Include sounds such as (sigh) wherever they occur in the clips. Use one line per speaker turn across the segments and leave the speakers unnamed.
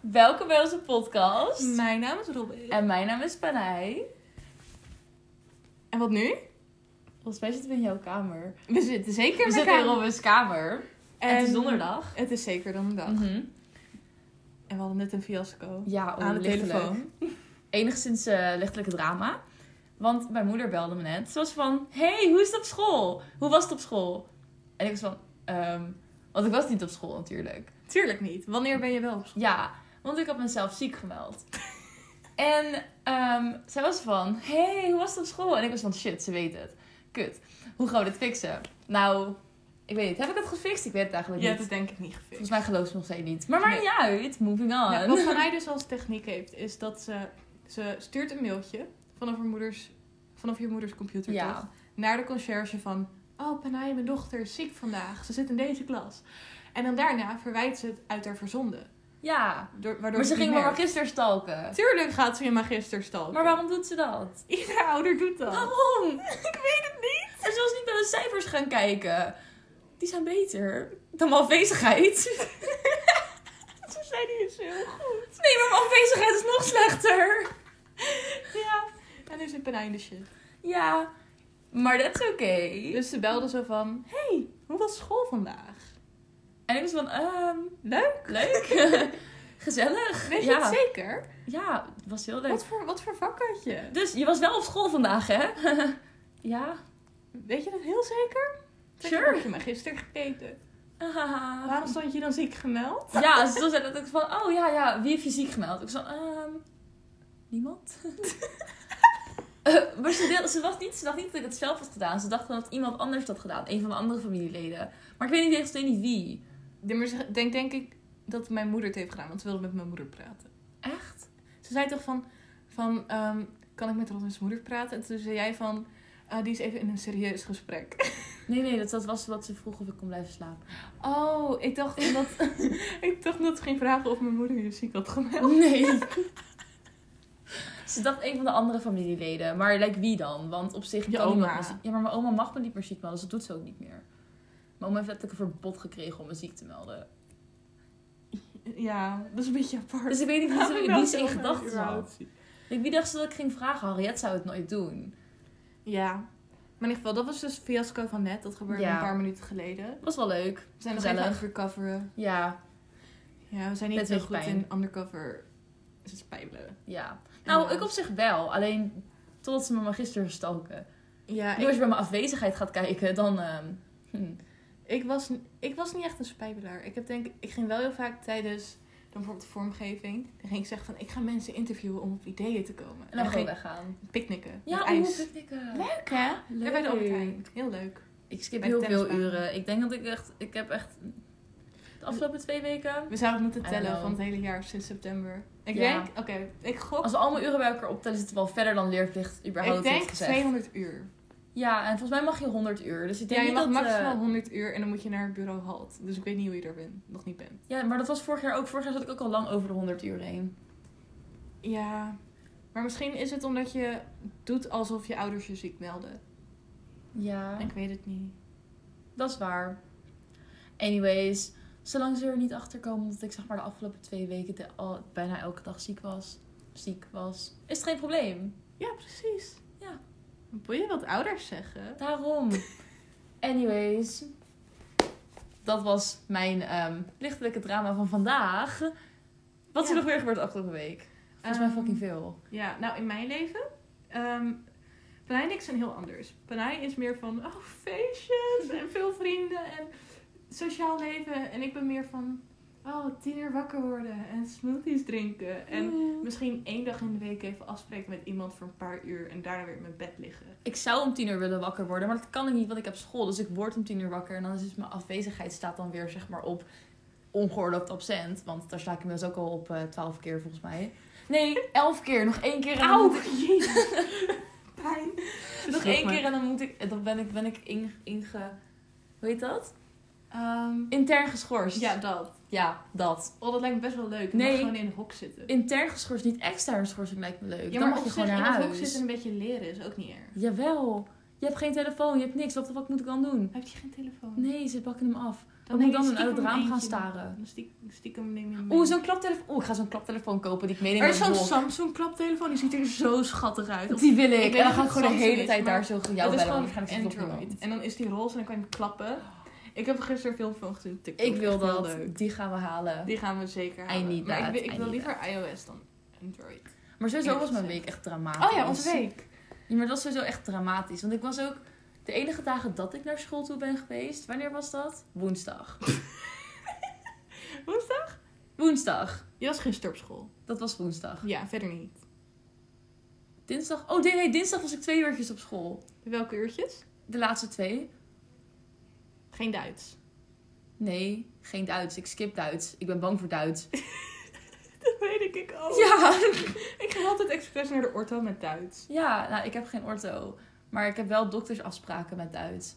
Welkom bij onze podcast.
Mijn naam is Robin.
En mijn naam is Panay.
En wat nu?
Volgens mij zitten we in jouw kamer.
We zitten zeker
We
met
zitten
elkaar.
in Robin's kamer. En het is donderdag.
Het is zeker donderdag.
Mhm.
En we hadden net een fiasco.
Ja,
Aan de
lichtelijk.
telefoon.
(laughs) Enigszins eh lichtelijke drama. Want mijn moeder belde me net. Ze was van, hey, hoe is het op school? Hoe was het op school? En ik was van, ehm, want ik was niet op school natuurlijk.
Tuurlijk niet. Wanneer ben je wel op school?
Ja, want ik had mezelf ziek gemeld. en ehm, zij was van, hey, hoe was het op school? En ik was van, shit, ze weet het. Kut. Hoe gaan we dit fixen? Nou, ik weet niet. Heb ik het gefixt? Ik weet het eigenlijk
Ja,
niet.
dat is denk ik niet gefixt.
Volgens mij gelooft ze nog steeds niet. Maar maakt
Nee.
niet uit. Moving on.
Nou, wat Vanij dus als techniek heeft, is dat ze, ze stuurt een mailtje vanaf, haar moeders, vanaf je moeders computer
Ja.
toch? naar de conciërge van... Oh, Panay, mijn dochter is ziek vandaag. Ze zit in deze klas. En dan daarna verwijt ze het uit haar verzonden.
ja.
Door, waardoor
Maar ze
het niet
ging me maar
merkt.
gisteren stalken.
Tuurlijk gaat ze je magister stalken.
Maar waarom doet ze dat?
Iedere ouder doet dat. (laughs)
Waarom? ik weet het niet. En ze was niet naar de cijfers gaan kijken. Die zijn beter dan mijn afwezigheid.
(laughs) Ze zijn die is heel goed.
Nee, maar mijn afwezigheid is nog slechter.
Ja. En nu zit Benijn de shit.
Ja, maar dat is oké.
Dus ze belde zo van... hey, hoe was school vandaag?
En ik was van, ehm,
Leuk. (laughs)
leuk. Gezellig.
Weet je
ja.
het zeker?
ja, het was heel leuk.
Wat voor, wat voor vak had je?
Dus je was wel op school vandaag, hè? (laughs) ja.
Weet je dat heel zeker? Zeg,
Sure.
Heb je me gisteren gekeken?
Ah.
Waarom stond je dan ziek gemeld?
Ja, ze zei dat ik van, oh ja, ja, wie heeft je ziek gemeld? Ik zei, ehm, niemand. (laughs) Eh, maar ze, deel- ze, dacht niet, ze dacht niet dat ik het zelf had gedaan. Ze dacht gewoon dat iemand anders dat had gedaan. Een van mijn andere familieleden. Maar ik weet niet, echt steeds niet wie.
Ja, maar ze- denk, denk ik dat mijn moeder het heeft gedaan. Want ze wilde met mijn moeder praten.
Echt?
Ze zei toch van... van ehm, kan ik met Robins moeder praten? En toen zei jij van... ah, die is even in een serieus gesprek.
Nee, nee, dat, dat was wat ze vroeg of ik kon blijven
(laughs)
slapen.
Oh, ik (laughs) dacht omdat ik dacht dat ze ging vragen of mijn moeder je ziek had gemeld.
Nee. Ze dacht een van de andere familieleden. Maar like wie dan? Want op zich
Je
kan niemand
oma.
me ziek- Ja, maar mijn oma mag me niet meer ziek melden. Dus dat doet ze ook niet meer. Mijn oma heeft letterlijk een verbod gekregen om me ziek te melden.
Ja, dat is een beetje apart.
Dus ik weet niet wie ze, wie ze in gedachten had.
had.
Like, wie dacht ze dat ik ging vragen? Harriet zou het nooit doen.
Ja. Maar in ieder geval, dat was dus het fiasco van net. Dat gebeurde
Ja.
een paar minuten geleden.
Was wel leuk.
We zijn nog
Gezellig.
even aan het recoveren.
Ja,
Ja, we zijn
Met
niet zo
een
goed
beetje
in undercover spijbelen.
ja. Nou,
Ja.
ik op zich wel. Alleen totdat ze me maar gisteren stalken.
Ja,
En als je
ik,
bij mijn afwezigheid gaat kijken, dan... ehm, hm.
ik, was, ik was niet echt een spijbelaar. Ik, heb denk, ik ging wel heel vaak tijdens dan bijvoorbeeld vormgeving. Dan ging ik zeggen van, ik ga mensen interviewen om op ideeën te komen.
En dan gewoon
ging
weggaan.
ik picknicken
Ja,
met
oeh,
ijs.
picknicken.
Leuk hè?
Leuk.
Ja, bij de Albert Heijn. Heel leuk.
Ik skip
Bij
heel veel
tennisbanen.
uren. Ik denk dat ik echt... Ik heb echt... De afgelopen twee weken...
We zouden het moeten
I don't
tellen
know.
van het hele jaar sinds september. Ik
Ja.
denk, oké, ik gok.
Als we allemaal uren bij elkaar optellen, zitten we al verder dan leerplicht überhaupt
ik denk
heeft gezegd.
200 uur.
Ja, en volgens mij mag je 100 uur. Dus ik denk
ja, je
niet
mag
dat... eh,
maximaal 100 uur en dan moet je naar het bureau halt. Dus ik weet niet hoe je er bent, nog niet bent.
Ja, maar dat was vorig jaar ook. Vorig jaar zat ik ook al lang over de 100 uur heen.
Ja, maar misschien is het omdat je doet alsof je ouders je ziek melden.
Ja,
Ik weet het niet.
dat is waar. Anyways, zolang ze er niet achter komen dat ik zeg maar de afgelopen twee weken de- al, bijna elke dag ziek was, ziek was, is het geen probleem.
Ja, precies.
Ja.
Wil je wat ouders zeggen? (laughs)
Daarom. Anyways, dat was mijn ehm, lichtelijke drama van vandaag. Wat is er
Ja.
nog weer gebeurd afgelopen week? Volgens mij
Ehm,
fucking veel.
Ja, nou in mijn leven. ehm Panay en ik zijn heel anders. Panay is meer van oh, feestjes en veel vrienden en sociaal leven. En ik ben meer van oh, tien uur wakker worden en smoothies drinken. En misschien één dag in de week even afspreken met iemand voor een paar uur en daarna weer in mijn bed liggen.
Ik zou om tien uur willen wakker worden, maar dat kan ik niet, want ik heb school. Dus ik word om tien uur wakker en dan is dus mijn afwezigheid staat dan weer zeg maar op ongeoorloofd absent. Want daar sta ik inmiddels ook al op eh, twaalf keer volgens mij. Nee, elf keer. Nog één keer. en dan moet ik-
(laughs) jezus. Pijn. (laughs)
nog één keer en dan moet ik, dan ben ik, ben ik inge, inge, hoe heet dat? Intern geschorst.
Ehm, ja, dat.
Ja, dat.
Oh, dat lijkt me best wel leuk.
Nee.
Nee. Gewoon in een hok zitten.
Intern geschorst, niet extern schorsing lijkt me leuk.
ja,
dan
maar
mag
op
je
zich
gewoon
in
naar
een hok
huis.
zitten en een beetje leren is ook niet erg.
Jawel. Je hebt geen telefoon, je hebt niks. Wat, wat moet ik dan doen?
Heb je geen telefoon?
Nee, ze pakken hem af. Dan moet ik
denk
dan uit het
stiekem
raam gaan
eentje.
staren.
Dan stiek- stiekem neem je hem mee.
Oeh, zo'n klaptelefoon. Oeh, ik ga zo'n klaptelefoon kopen die ik meeneem
Er is
naar
zo'n
de walk.
Samsung klaptelefoon, die ziet er zo schattig uit. Of-
Die wil ik.
weet
en dan
niet
ga ik
of
gewoon de
Samsung
hele
is,
tijd
maar
daar zo
Het
jou
is
bellen. want
gewoon
waarschijnlijk zit het op
Android.
niemand.
En dan is die roze en dan kan je hem klappen. Ik heb gisteren veel van gezien op TikTok.
Ik wil
Echt heel
dat.
leuk.
Die gaan we halen.
Die gaan we zeker halen.
need
maar
that,
ik, wil-
I
ik wil
need
liever iOS dan Android.
Maar sowieso
Eerlijk
was mijn week
gezegd.
echt dramatisch.
Oh ja, onze week.
Ja, maar dat was sowieso echt dramatisch. Want ik was ook... De enige dagen dat ik naar school toe ben geweest... Wanneer was dat? (laughs) Woensdag.
Woensdag?
Woensdag.
Je was gisteren op school.
Dat was woensdag.
Ja, verder niet.
Dinsdag... Oh nee, nee, dinsdag was ik twee uurtjes op school.
Welke uurtjes?
De laatste twee.
Geen Duits.
Nee, geen Duits. Ik skip Duits. Ik ben bang voor Duits.
Dat weet ik ook.
Ja.
Ik ga altijd expres naar de orto met Duits.
Ja, nou, ik heb geen ortho. Maar ik heb wel doktersafspraken met Duits.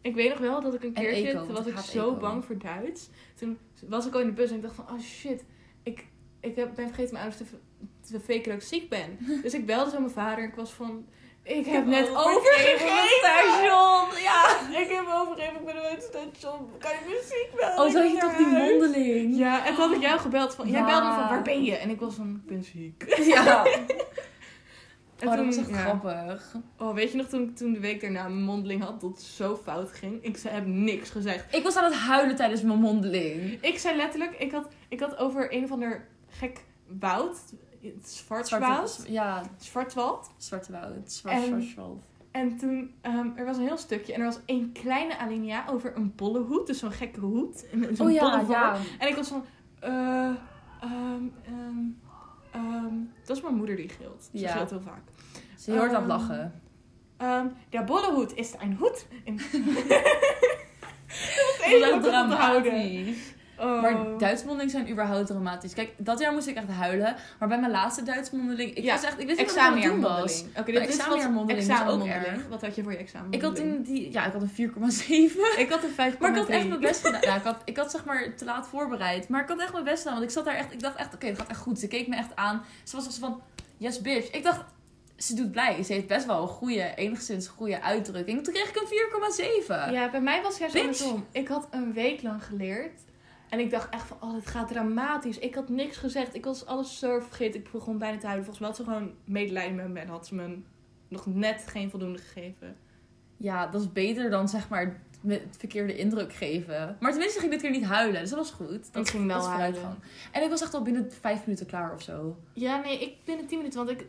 Ik weet nog wel dat ik een
En
keertje,
eco,
toen
want
was
ik
ik
haat
zo
eco.
bang voor Duits. Toen was ik al in de bus en ik dacht van, oh shit, ik, ik heb, ben vergeten mijn ouders te, v- te faken dat ik ziek
(laughs)
ben. Dus ik belde zo mijn vader en ik was van, ik heb net
Oh,
overgegeven op het station.
Ja.
Ik heb overgegeven, ik ben op het station. Kan je me ziek melden?
Oh,
Ik
toen had
moet
je
naar
toch die
huis.
mondeling?
Ja, en toen had ik jou gebeld van, jij
Ja.
belde me van, waar ben je? En ik was van, ik ben ziek.
(laughs) Ja.
En
Oh, dat was echt
ja.
grappig.
Oh, weet je nog toen, toen de week daarna mijn mondeling had, dat het zo fout ging? Ik zei, heb niks gezegd.
Ik was aan het huilen tijdens mijn mondeling.
Ik zei letterlijk, ik had, ik had over een of ander gek woud, het Zwartswoud,
Ja,
Zwartwald.
Zwarte Woud. Zwart,
En-
zwart, zwart.
En toen, ehm, er was een heel stukje en er was één kleine alinea over een bollehoed, dus zo'n gekke hoed. en Zo'n
Oh ja,
bolle vorm.
ja.
En ik was van, eh, ehm, ehm, ehm, dat is mijn moeder die gilt. Ze
Ja.
gilt heel vaak.
Ze hoort aan
Ehm,
het lachen.
Ehm, der bollehoed is een hoed.
(laughs)
En... (laughs) dat was het
Dat
enige
is
wat
echt
ik kon onthouden.
dramatisch.
Oh.
Maar Duitsmondelingen zijn überhaupt dramatisch. Kijk, dat jaar moest ik echt huilen. Maar bij mijn laatste Duitsmondeling... Ik
Ja,
was echt... Ik wist niet wat ik aan het doen was.
Examenjaarmondeling. Oké, dit is wat
examenjaarmondeling is ook erg.
Wat had je voor je examen?
Ik had een, die, ja, ik had een 4,7.
(laughs) ik had een 5,
Maar ik had echt mijn best gedaan. Ja, ik, had, ik had zeg maar te laat voorbereid. Maar ik had echt mijn best gedaan. Want ik zat daar echt. Ik dacht echt, oké, het gaat echt goed. Ze keek me echt aan. Ze was als van, yes bitch. Ik dacht, ze doet blij. Ze heeft best wel een goede, enigszins goede uitdrukking. Toen kreeg ik een 4,7.
Ja, bij mij was juist
Bitch.
andersom. Ik had een week lang geleerd. En ik dacht echt van, oh, dit gaat dramatisch. Ik had niks gezegd. Ik was alles zo vergeten. Ik begon bijna te huilen. Volgens mij had ze gewoon medelijden met me. En had ze me nog net geen voldoende gegeven.
Ja, dat is beter dan zeg maar met het verkeerde indruk geven. Maar tenminste ging dit keer niet huilen. Dus dat was goed. Dat,
Ik ging wel
dat is
huilen.
vooruitgang. En ik was echt al binnen vijf minuten klaar of zo.
Ja, nee, ik binnen 10 minuten. Want ik,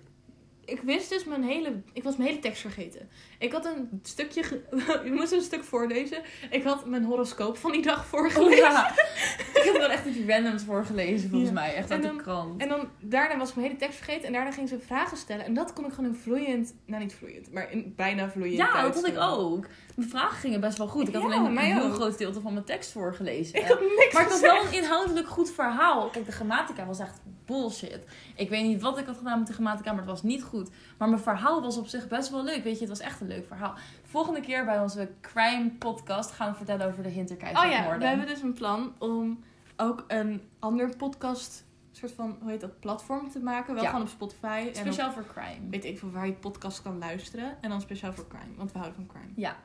ik wist dus mijn hele. Ik was mijn hele tekst vergeten. Ik had een stukje. Ge, (laughs) je moest een stuk voorlezen. Ik had mijn horoscoop van die dag
Oh,
voorgelezen. (laughs)
ja. ik heb er echt iets randoms voor gelezen volgens
Ja.
mij. Echt
En
uit de
dan-
krant.
En dan daarna was ik mijn hele tekst vergeten. En daarna ging ze vragen stellen. En dat kon ik gewoon in vloeiend. Nou, niet vloeiend, maar in bijna vloeiend.
Ja, dat
Duits
had ik
doen.
ook. Mijn vragen gingen best wel goed. Ik had
eh. Ja,
alleen een
mij
heel
ook.
groot deel van mijn tekst voorgelezen.
Ik had niks
maar het was
gezegd.
wel een inhoudelijk goed verhaal. Kijk, de grammatica was echt bullshit. Ik weet niet wat ik had gedaan met de grammatica, maar het was niet goed. Maar mijn verhaal was op zich best wel leuk. Weet je, het was echt een leuk verhaal. Volgende keer bij onze crime podcast gaan we vertellen over de
Oh ja,
Hinterkijkmoorden.
we hebben dus een plan om ook een ander podcast. soort van, hoe heet dat? Platform te maken. Wel
Ja.
gewoon op Spotify. En op,
Speciaal voor crime.
weet ik veel waar je podcast kan luisteren. En dan speciaal voor crime. Want we houden van crime.
Ja,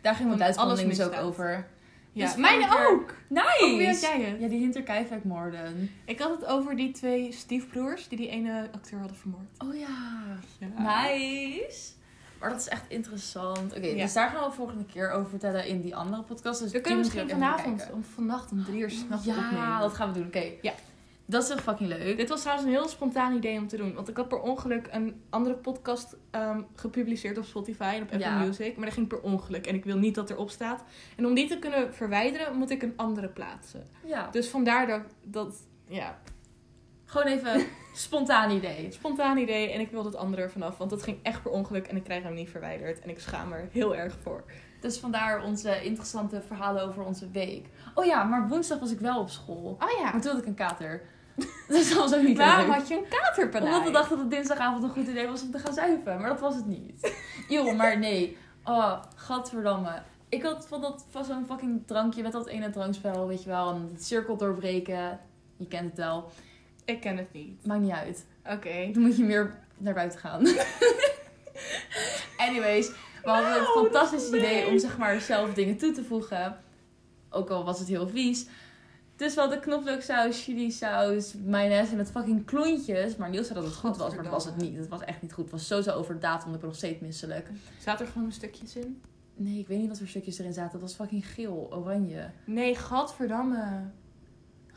daar ging mijn
Van alles
Duitsmondeling dus ook
misdaad.
over.
Ja,
Dus
mijn
volgende keer-
ook!
Nice!
Ook weer Oh, had jij het.
Ja, die Hinterkijkmoorden.
Ik had het over die twee stiefbroers die die ene acteur hadden vermoord.
Oh ja.
Ja.
Nice. Maar dat is echt interessant. Oké,
Ja.
dus daar gaan we volgende keer over vertellen in die andere podcast. Dus
We
die
kunnen
moet je
misschien
ook even
vanavond,
bekijken.
om vannacht om drie uur s'nachts
Ja,
opnemen.
dat gaan we doen. Oké.
Ja.
Dat is echt fucking leuk.
Dit was trouwens een heel spontaan idee om te doen. Want ik had per ongeluk een andere podcast ehm, gepubliceerd op Spotify en op Apple
Ja.
Music. Maar dat ging per ongeluk. En ik wil niet dat erop staat. En om die te kunnen verwijderen, moet ik een andere plaatsen.
Ja.
Dus vandaar dat, dat ja,
Gewoon
(laughs)
even spontaan idee.
spontaan idee. En ik wil dat andere vanaf. Want dat ging echt per ongeluk en ik krijg hem niet verwijderd. En ik schaam er heel erg voor.
Dus vandaar onze interessante verhalen over onze week. Oh ja, maar woensdag was ik wel op school.
Oh ja.
Maar toen had ik een kater. (laughs) Dus dat was ook niet
Waarom
leuk.
had je een katerpaleis?
Omdat we dachten dat het dinsdagavond een goed idee was om te gaan zuipen. Maar dat was het niet. Joh, maar nee. Oh, gadverdamme. Ik had van dat van zo'n fucking drankje met dat ene drankspel, weet je wel. En het cirkel doorbreken. Je kent het wel.
Ik ken het niet.
Maakt niet uit.
Oké.
(laughs) Dan moet je meer naar buiten gaan. (laughs) Anyways, we hadden het
Nou, dat is Nou,
fantastisch idee
leuk.
om zeg maar zelf dingen toe te voegen. Ook al was het heel vies. Dus we hadden knoflooksaus, chilisaus, mayonaise met fucking klontjes. Maar Niels zei dat het goed was, maar dat was het niet. Het was echt niet goed. Het was sowieso overdaad, want ik ben nog steeds misselijk.
Zaten er gewoon stukjes in?
Nee, ik weet niet wat voor stukjes erin zaten. Het was fucking geel, oranje.
Nee, gadverdamme.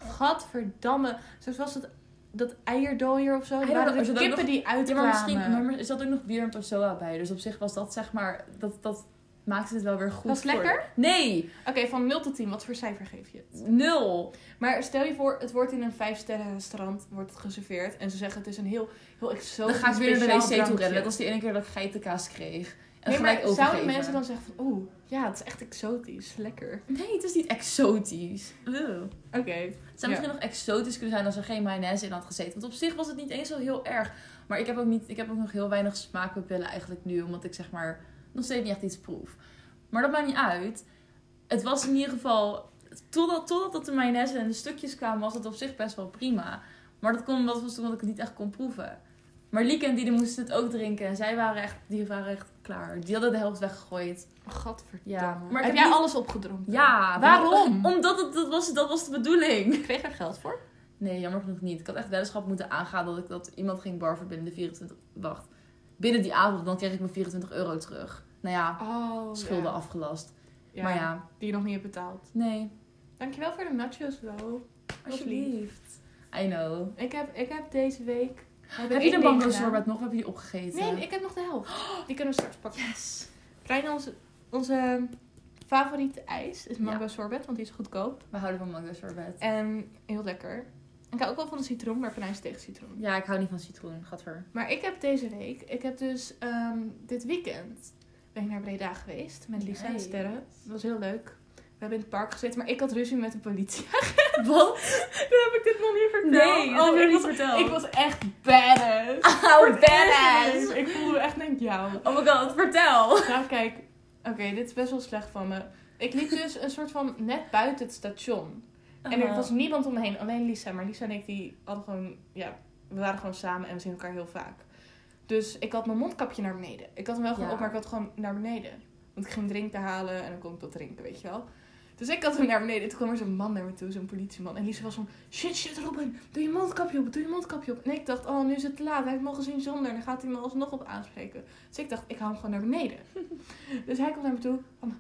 Gadverdamme. Zoals was het, dat eierdooier of zo. Er
Eierdooier,
waren
er
de
zat ook
kippen die
Ja,
uitkwamen.
maar misschien maar er zat ook nog bier en persoa bij. Dus op zich was dat zeg maar... Dat, dat maakte het wel weer goed
Was het
voor-
lekker?
Nee,
Oké, van 0 tot 10, wat voor cijfer geef je het?
nul.
Maar stel je voor, het wordt in een vijfsterren restaurant wordt het geserveerd. En ze zeggen het is een heel, heel exotisch
Dan ga ik weer naar de
speciaal
wc toe
drankje.
rennen. Net als die ene keer dat ik geitenkaas kreeg. En
Nee,
gelijk
maar zouden
overgeven.
mensen dan zeggen van, oeh, ja, het is echt exotisch, lekker.
Nee, het is niet exotisch. Ew.
Oké.
Het zou misschien nog exotisch kunnen zijn als er geen mayonaise in had gezeten. Want op zich was het niet eens zo heel erg. Maar ik heb ook, niet, ik heb ook nog heel weinig smaakpapillen eigenlijk nu. Omdat ik zeg maar nog steeds niet echt iets proef. Maar dat maakt niet uit. Het was in ieder geval... Totdat, totdat het de mayonaise en de stukjes kwamen was het op zich best wel prima. Maar dat komt omdat was toen dat ik het niet echt kon proeven. Maar Lieke en Diede moesten het ook drinken. En zij waren echt, die waren echt klaar. Die hadden de helft weggegooid.
Gadverdamme.
Ja, maar ik
heb
heb
jij
niet-
alles opgedronken?
Ja,
Waarom?
Omdat het, dat, was, dat was de bedoeling.
Ik kreeg er geld voor.
Nee, jammer genoeg niet. Ik had echt weddenschap moeten aangaan dat ik dat iemand ging barven binnen de 24... Wacht. Binnen die avond, dan kreeg ik mijn 24 euro terug. Nou ja,
Oh,
schulden
ja.
afgelast.
Ja,
Maar ja,
Die je nog niet hebt betaald.
nee.
Dankjewel voor de nachos wel.
Alsjeblieft. I know.
Ik heb, ik heb deze week... Heb,
Heb je de mango sorbet Oh. nog? Of heb je die opgegeten?
Nee, ik heb nog de helft. Die kunnen we straks pakken.
Yes.
Klein, onze, onze favoriete ijs is mango
Ja.
sorbet, want die is goedkoop.
We houden van mango sorbet.
En heel lekker. Ik hou ook wel van de citroen, maar vanijs tegen citroen.
Ja, ik hou niet van citroen. Gadver.
Maar ik heb deze week, ik heb dus ehm, dit weekend ben ik naar Breda geweest met Lisa en
Nice.
Sterren. Dat was heel leuk. We hebben in het park gezeten, maar ik had ruzie met de politie. (laughs)
Wat?
Dan heb ik dit nog niet verteld. Oh,
Nee, dat heb je
ik
niet
was,
verteld.
Ik was echt badass. Voor
Oh,
het eerst. Ik voelde me echt denk, jou.
Oh my god, vertel.
Nou, kijk. Oké, dit is best wel slecht van me. Ik liep dus een soort van net buiten het station. En
Oh.
er was niemand om me heen, alleen Lisa. Maar Lisa en ik, die hadden gewoon, ja, we waren gewoon samen en we zien elkaar heel vaak. Dus ik had mijn mondkapje naar beneden. Ik had hem wel gewoon
Ja.
op, maar ik had het gewoon naar beneden. Want ik ging drinken halen en dan kon ik dat drinken, weet je wel. Dus ik had hem naar beneden. Toen kwam er zo'n man naar me toe, zo'n politieman. En Lisa was van, shit, shit, Robin, doe je mondkapje op, doe je mondkapje op. En ik dacht, oh, nu is het te laat. Hij heeft me al gezien zonder. Dan gaat hij me alsnog op aanspreken. Dus ik dacht, ik hou hem gewoon naar beneden. dus hij komt naar me toe van,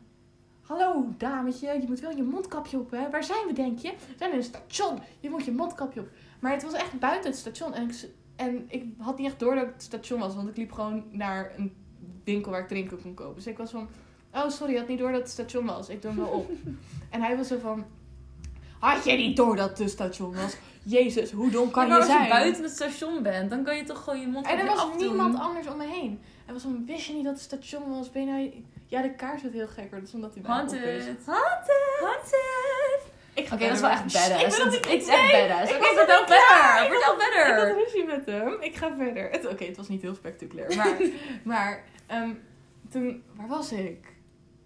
hallo, dametje, je moet wel je mondkapje op, hè. Waar zijn we, denk je? We zijn in een station. Je moet je mondkapje op. Maar het was echt buiten het station. En ik, s- en ik had niet echt door dat ik het station was. Want ik liep gewoon naar een winkel waar ik drinken kon kopen. Dus ik was van... Oh, sorry, ik had niet door dat het station was. Ik doe hem wel
(laughs)
op. en hij was zo van... Had je niet door dat het een station was? Jezus, hoe dom kan
maar
je
als
zijn?
je buiten het station bent, dan kan je toch gewoon je mond
En er
op je
was
afdoen.
niemand anders om me heen. Hij was van, wist je niet dat het station was? Ben je nou... Ja, de kaars werd heel gek, maar dat is omdat hij bijna op is.
Haunted.
Haunted! Ik
Oké,
ga
dat is wel
verder.
echt
Sst,
badass.
(laughs) Ik wil dat niet
Het is echt badass.
Ik
Oké,
was er
vertel
niet klaar.
verder.
Ik
Vertel
Ik had
verder.
ruzie met hem. Ik ga verder. Het- Oké, het was niet heel spectaculair. Maar, maar ehm, toen, waar was ik?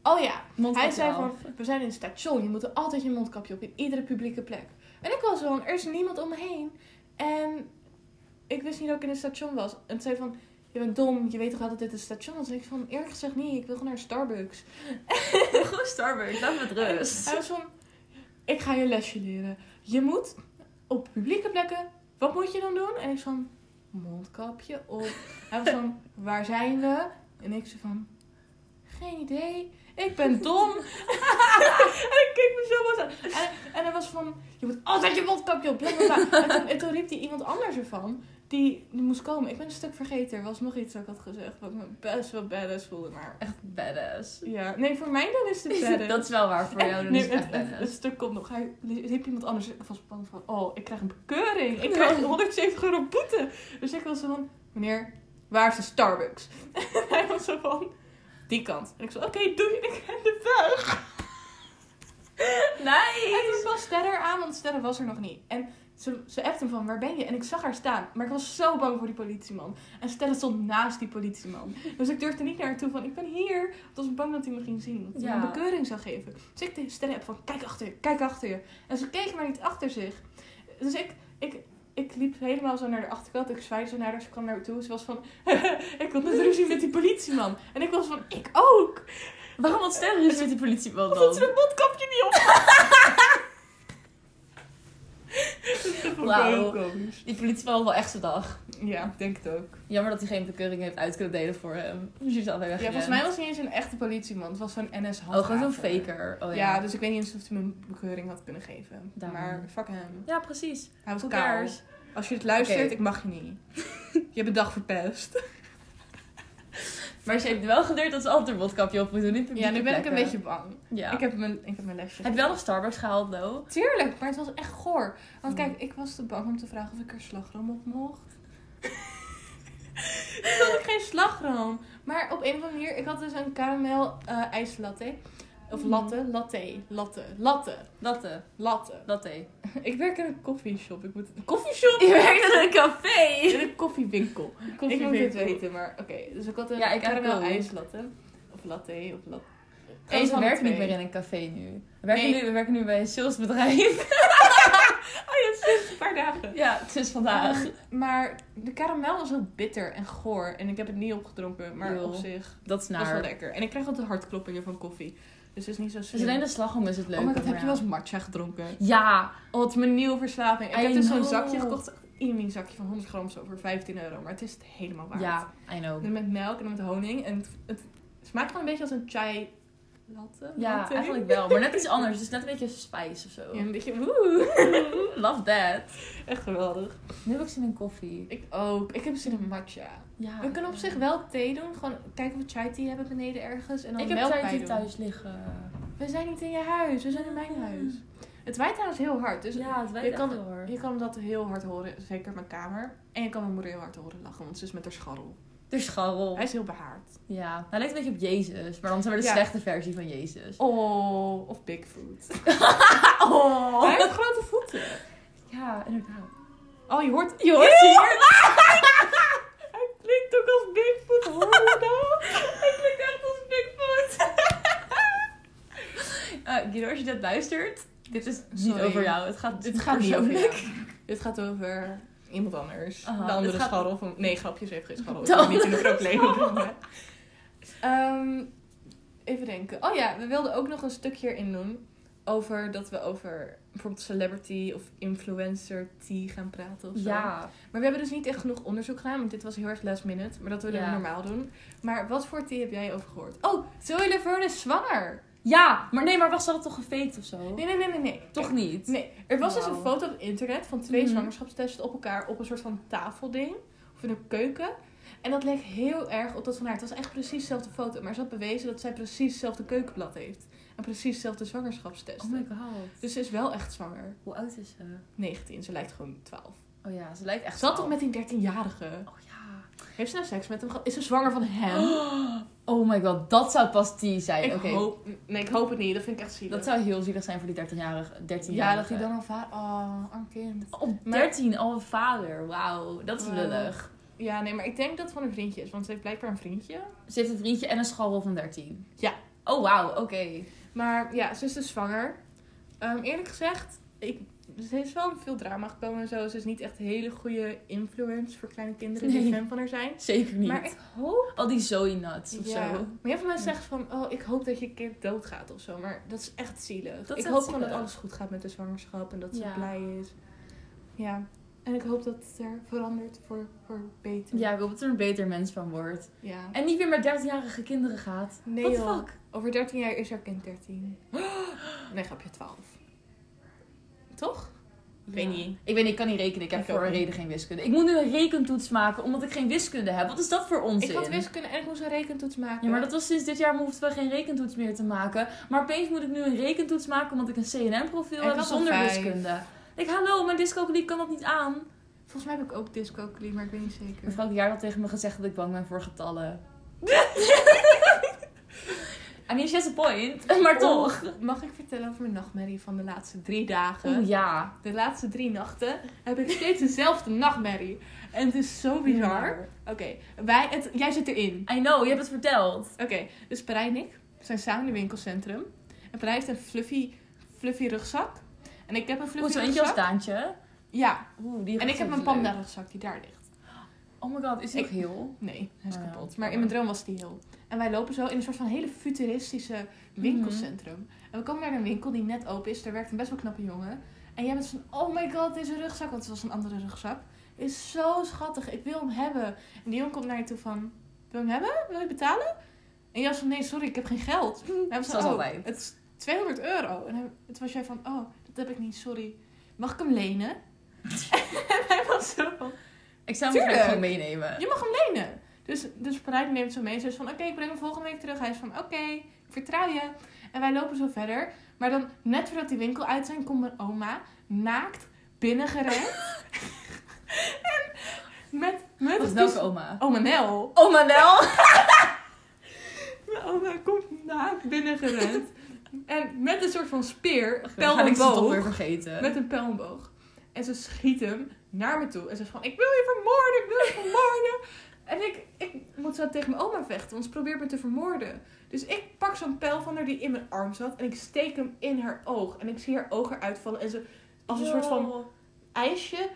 Oh ja, hij zei (laughs) van, we zijn in het station. Je moet er altijd je mondkapje op in iedere publieke plek. En ik was gewoon, er is niemand om me heen. En ik wist niet dat ik in het station was. En toen zei hij van, je bent dom. Je weet toch wel dat dit het station is? En ik van, eerlijk gezegd niet. Ik wil gewoon naar Starbucks.
Goed Starbucks, laat me met rust.
Hij was van, ik ga je lesje leren. Je moet op publieke plekken, wat moet je dan doen? En ik zo van, mondkapje op. Hij was van, waar zijn we? En ik zo van, geen idee. Ik ben dom. (laughs) en ik keek me zo boos aan. En, en hij was van, je moet altijd je mondkapje op. bla, bla, bla. En toen, en toen riep hij iemand anders ervan. Die, die moest komen. Ik ben een stuk vergeten. Er was nog iets dat ik had gezegd. Wat ik me best wel badass voelde. Maar
Echt badass.
ja. Nee, voor mij dan
(laughs)
is het badass.
Dat is wel waar voor jou. Dat
Nee,
is
het,
echt
het- het
badass.
stuk komt nog. Hij riep iemand anders. Ik was bang van, oh, ik krijg een bekeuring. Ik krijg 170 euro boete. Dus ik was zo van, meneer, waar is de Starbucks? (laughs) En hij was zo van, die kant. En ik zo, oké, doe je. En ik rende
(laughs)
weg. En toen
Nice.
was Sterre aan, want Sterre was er nog niet. En ze, ze appte hem van, waar ben je? En ik zag haar staan. Maar ik was zo bang voor die politieman. En Sterre stond naast die politieman. Dus ik durfde niet naar haar toe van, ik ben hier. Want ik was bang dat hij me ging zien. Dat hij me
Ja.
een bekeuring zou geven. Dus ik tegen Sterre app van, kijk achter je, kijk achter je. En ze keek maar niet achter zich. Dus ik... ik ik liep helemaal zo naar de achterkant. Ik zwaaide zo naar haar. Ze (laughs) kwam naar me toe. Ze was van... ik had net ruzie met die politieman. En ik was van... Ik ook!
Waarom ontstelde dus met die politiebal
Omdat ze
dan?
mijn mondkapje niet op (laughs) Dat is toch ook wel heel
Wauw.
komisch.
Die politiebal had wel echt zijn dag.
Ja, ik denk het ook.
Jammer dat hij geen bekeuring heeft uit kunnen delen voor hem. Dus hij is altijd
Ja,
weg.
volgens mij was het niet eens een echte politieman. Het was zo'n ns
Oh, gewoon zo'n faker. Oh, ja.
Ja, dus ik weet niet eens of hij me een bekeuring had kunnen geven.
Daarom.
Maar fuck hem.
Ja, precies.
Hij was
Who
kaal.
cares?
Als je het luistert,
Oké.
ik mag je niet. je hebt een dag verpest.
Maar ze heeft wel geleerd dat ze altijd een mondkapje op moeten doen. niet publieke
Ja, (laughs) nu ben ik een
plekken.
beetje bang.
Ja.
Ik, heb mijn, ik heb mijn lesje.
Heb je wel nog Starbucks gehaald, though?
Tuurlijk, maar het was echt goor. Want
Mm.
kijk, ik was te bang om te vragen of ik er slagroom op (laughs) mocht. ik had ook geen slagroom. Maar op een of andere manier, ik had dus een karamel eh ijslatte. Of
Mm.
latte, latte, latte, latte,
Latte.
latte.
Latte.
Ik werk in een koffieshop. Ik moet... Een koffieshop?
Je werkt in een café!
In een koffiewinkel. ik moet het
winkel.
weten, maar oké. Dus ik had een
Ja, ik
karamel
ook.
ijslatte. Of latte, of latte.
Eens
van
we
de
werken niet
twee.
meer in een café nu. We werken,
Nee.
nu, we werken nu bij een (laughs) salesbedrijf.
Oh ja, sinds een paar dagen.
ja, het is vandaag.
Ehm, maar de karamel was heel bitter en goor. En ik heb het niet opgedronken, maar
Joh.
op zich
dat is
was wel
naar.
lekker. En ik krijg altijd hartkloppingen van koffie. Dus het is niet zo zuur.
Dus alleen de slagroom is het leuk.
oh my god, heb je wel eens matcha gedronken?
Ja.
Oh, het is mijn nieuwe verslaving. Ik
I
heb dus zo'n
know.
zakje gekocht. Een mini zakje van 100 gram zo voor 15 euro. Maar het is het helemaal waard.
Ja, I know.
En met melk en met honing. En het, het smaakt wel een beetje als een chai latte.
Ja,
latte?
eigenlijk wel. Maar
(laughs)
net iets anders. Dus net een beetje spijs of zo.
Ja, een beetje woe.
(laughs) Love that.
Echt geweldig.
Nu heb ik zin in koffie.
Ik ook. Ik heb zin in matcha.
Ja.
We kunnen op zich wel thee doen. Gewoon kijken of we chai tea hebben beneden ergens. En dan
Ik heb
melk
chai
bij
tea
doen.
thuis liggen.
We zijn niet in je huis. We zijn in mijn huis. Het waait trouwens heel hard. Dus
ja, het
je
weet ik
kan-
hoor.
je kan dat heel hard horen. Zeker mijn kamer. En je kan mijn moeder heel hard horen lachen. Want ze is met haar scharrel.
De scharrel.
Hij is heel behaard.
Ja. Hij lijkt een beetje op Jezus. Maar dan zijn we de
Ja.
slechte versie van Jezus.
Oh, of Bigfoot.
(laughs) Oh.
Hij heeft grote voeten.
Ja, inderdaad.
Oh, je hoort...
Je hoort ze hier.
(laughs) Hij klinkt ook als Bigfoot. Hoor je dat?
Hij klinkt echt als Bigfoot. (laughs) Eh Guido, als je dit luistert, dit is niet
Sorry.
over jou. Het gaat,
Dit gaat niet over
persoonlijk.
jou. Dit gaat over iemand anders.
Aha,
de andere
dit gaat-
scharrel van... Nee, grapjes heeft geen scharrel. Ik
De
wil niet in de
andere
problemen brengen. Ehm, even denken. Oh ja, we wilden ook nog een stukje erin doen. Over dat we over bijvoorbeeld celebrity of influencer tea gaan praten of zo.
Ja,
Maar we hebben dus niet echt genoeg onderzoek gedaan. Want dit was heel erg last minute. Maar dat willen we
Ja.
normaal doen. Maar wat voor tea heb jij over gehoord? Oh, Zoe Laverne is zwanger.
ja, maar nee, maar was dat toch gefaked of zo?
Nee, nee, nee, nee. nee.
Toch niet?
Nee, er was dus
Wauw.
een foto op het internet van twee
Mhm.
zwangerschapstests op elkaar op een soort van tafelding of in een keuken. En dat leek heel erg op dat van haar. Het was echt precies dezelfde foto, maar ze had bewezen dat zij precies hetzelfde keukenblad heeft. En precies dezelfde
Oh
zwangerschapstesten.
my god.
dus ze is wel echt zwanger.
Hoe oud is ze?
19, ze lijkt gewoon 12.
Oh ja, ze lijkt echt
Ze had toch
oud.
met die 13-jarige?
Oh ja.
Heeft ze nou seks met hem gehad? Is ze zwanger van hem?
(gasps) Oh my god, dat zou pas die zijn.
ik
Oké.
hoop... Nee, ik hoop het niet. Dat vind ik echt zielig.
Dat zou heel zielig zijn voor die 13-jarige. 13
Ja, dat hij dan al vaar... Oh, arm kind.
Op
Maar-
13 al een vader. Wauw, dat is
Wauw.
lullig.
Ja, nee, maar ik denk dat het van een vriendje is. Want ze heeft blijkbaar een vriendje.
Ze heeft een vriendje en een scharrel van 13.
Ja.
Oh wauw, oké.
Maar ja, ze is dus zwanger. Ehm, eerlijk gezegd, ik, ze is wel veel drama gekomen en zo. Ze is niet echt een hele goede influence voor kleine kinderen die
Nee.
fan van haar zijn.
Zeker niet.
Maar ik hoop...
Al die zoe nuts of
Ja.
zo.
Maar heel veel mensen zeggen van, oh, ik hoop dat je kind doodgaat of zo. Maar dat is echt zielig.
Dat is
ik
echt
hoop gewoon dat
zielig.
alles goed gaat met de zwangerschap en dat ze
Ja.
blij is. Ja. En ik hoop dat het er verandert voor, voor beter.
Ja, ik hoop dat er een beter mens van wordt.
Ja.
En niet weer met 13-jarige kinderen gaat.
Nee,
What the
joh.
fuck?
Over 13 jaar is haar kind 13. (gasps) Nee, grapje, 12. Toch? Ik weet
Ja.
niet.
Ik weet niet, ik kan niet rekenen. Ik heb
Ik ook
voor een
niet.
reden geen wiskunde. Ik moet nu een rekentoets maken omdat ik geen wiskunde heb. Wat is dat voor onzin?
Ik had wiskunde en ik moest een rekentoets maken.
Ja, maar dat was sinds dit jaar hoefden we geen rekentoets meer te maken. Maar opeens moet ik nu een rekentoets maken omdat ik een CNM-profiel
En ik
heb
had al
zonder
vijf.
wiskunde. Ik, hallo, mijn dyscalculie kan dat niet aan.
Volgens mij heb ik ook dyscalculie, maar ik weet niet zeker.
Mevrouw Jaar had tegen me gezegd dat ik bang ben voor getallen.
(laughs)
I mean, she has a point. (laughs) (laughs) Maar toch.
Oh, mag ik vertellen over mijn nachtmerrie van de laatste drie dagen?
Oeh, ja.
De laatste drie nachten heb ik steeds dezelfde nachtmerrie. En het is zo bizar. Oké, wij, het, jij zit erin.
I know, je hebt het verteld.
Oké, dus Perrijn en ik zijn samen in het winkelcentrum. En Perrijn heeft een fluffy, fluffy rugzak. En ik heb een
Oeh,
fluffy
zo Oh, eentje als
rugzak.
Daantje.
Ja,
Oeh, die
en ik heb
een
mijn panda rugzak die daar ligt.
Oh my god, is die
Ik-
nog heel?
Nee, hij is
Oh ja,
kapot. Maar
jammer.
in mijn droom was die heel. En wij lopen zo in een soort van hele futuristische
Mm.
winkelcentrum. En we komen naar een winkel die net open is. Daar werkt een best wel knappe jongen. En jij bent van, oh my god, deze rugzak. Want het was een andere rugzak. Is zo schattig. Ik wil hem hebben. En die jongen komt naar je toe van, wil je hem hebben? Wil je betalen? En jij was van, nee, sorry, ik heb geen geld. En hij was van,
Zoals
oh,
altijd.
het is 200 euro. En hij- toen was jij van, oh, dat heb ik niet, sorry. Mag ik hem lenen? (laughs) en hij was zo van,
Ik zou hem
Tuurlijk.
gewoon meenemen.
je mag hem lenen. Dus, dus Parijs neemt zo mee. Ze is van, oké, ik breng hem volgende week terug. Hij is van, oké, ik vertrouw je. En wij lopen zo verder. Maar dan, net voordat die winkel uit zijn, komt mijn oma naakt (laughs) binnengerend. en met... met
Dat is
dus-
welke oma?
Oma Nel.
Oma Nel?
Mijn oma komt naakt binnengerend. en met een soort van speer,
Dan ga
pijl en
ik ze toch
boog.
weer vergeten.
Met een pijlenboog. En ze schiet hem naar me toe. En ze is van, ik wil je vermoorden, ik wil je vermoorden. (laughs) En ik, ik moet zo tegen mijn oma vechten, want ze probeert me te vermoorden. Dus ik pak zo'n pijl van haar die in mijn arm zat. En ik steek hem in haar oog. En ik zie haar oog eruit vallen. En ze, als een soort van ijsje,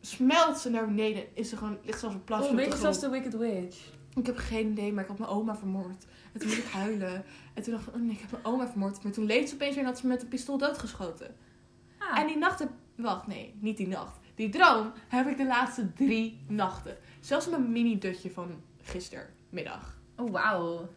smelt ze naar beneden. Is ze gewoon, ligt ze als een plasje
Oh,
op de
weet je,
grond.
zoals de Wicked Witch.
Ik heb geen idee, maar ik had mijn oma vermoord. En toen moest ik huilen. En toen dacht ik, oh nee, ik heb mijn oma vermoord. Maar toen leed ze opeens weer en had ze met een pistool doodgeschoten.
Ah.
En die nachten... Wacht, nee, niet die nacht. Die droom heb ik de laatste drie nachten. Zelfs mijn mini-dutje van gistermiddag.
Oh, wauw.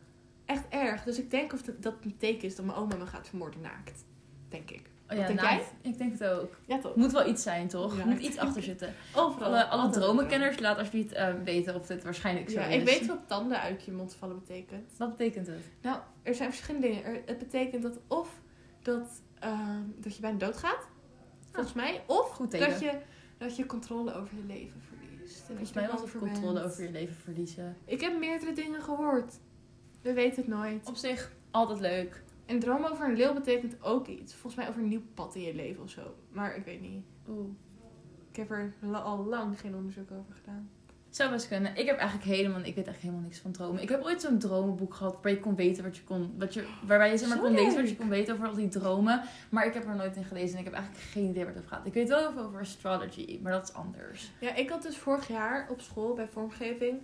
Echt erg. Dus ik denk of dat, dat een teken is dat mijn oma me gaat vermoorden naakt. Denk ik.
Oh,
Wat denk
nou,
jij?
Ik denk het ook.
Ja, toch?
Het moet wel iets zijn, toch?
Ja,
Er moet
ik
iets
denk
achter
het. (laughs)
zitten.
Overal.
Alle, alle
Altijd overal.
dromenkenners, laat alsjeblieft eh, weten of dit waarschijnlijk zo
Ja,
is.
ik weet wat tanden uit je mond vallen betekent.
Wat betekent het?
Nou, er zijn verschillende dingen. Er- het betekent dat of dat, ehm, dat je bijna doodgaat, volgens mij, of
Goed teken.
dat je, dat je controle over je leven verliest. En
Volgens
dat
mij
je
was het
over
controle
bent.
over je leven verliezen.
Ik heb meerdere dingen gehoord. We weten het nooit.
Op zich altijd leuk.
En droom over een leeuw betekent ook iets. Volgens mij over een nieuw pad in je leven of zo. Maar ik weet niet.
Oeh.
Ik heb er la- al lang geen onderzoek over gedaan.
Zou best kunnen. Ik heb eigenlijk helemaal, ik weet echt helemaal niks van dromen. Ik heb ooit zo'n dromenboek gehad waar je kon weten wat je kon, wat je, waarbij je zeg maar
Zo
kon lezen wat je
leuk.
kon weten over al die dromen. Maar ik heb er nooit in gelezen en ik heb eigenlijk geen idee waar het over gaat. Ik weet wel even over astrology, maar dat is anders.
Ja, ik had dus vorig jaar op school bij vormgeving.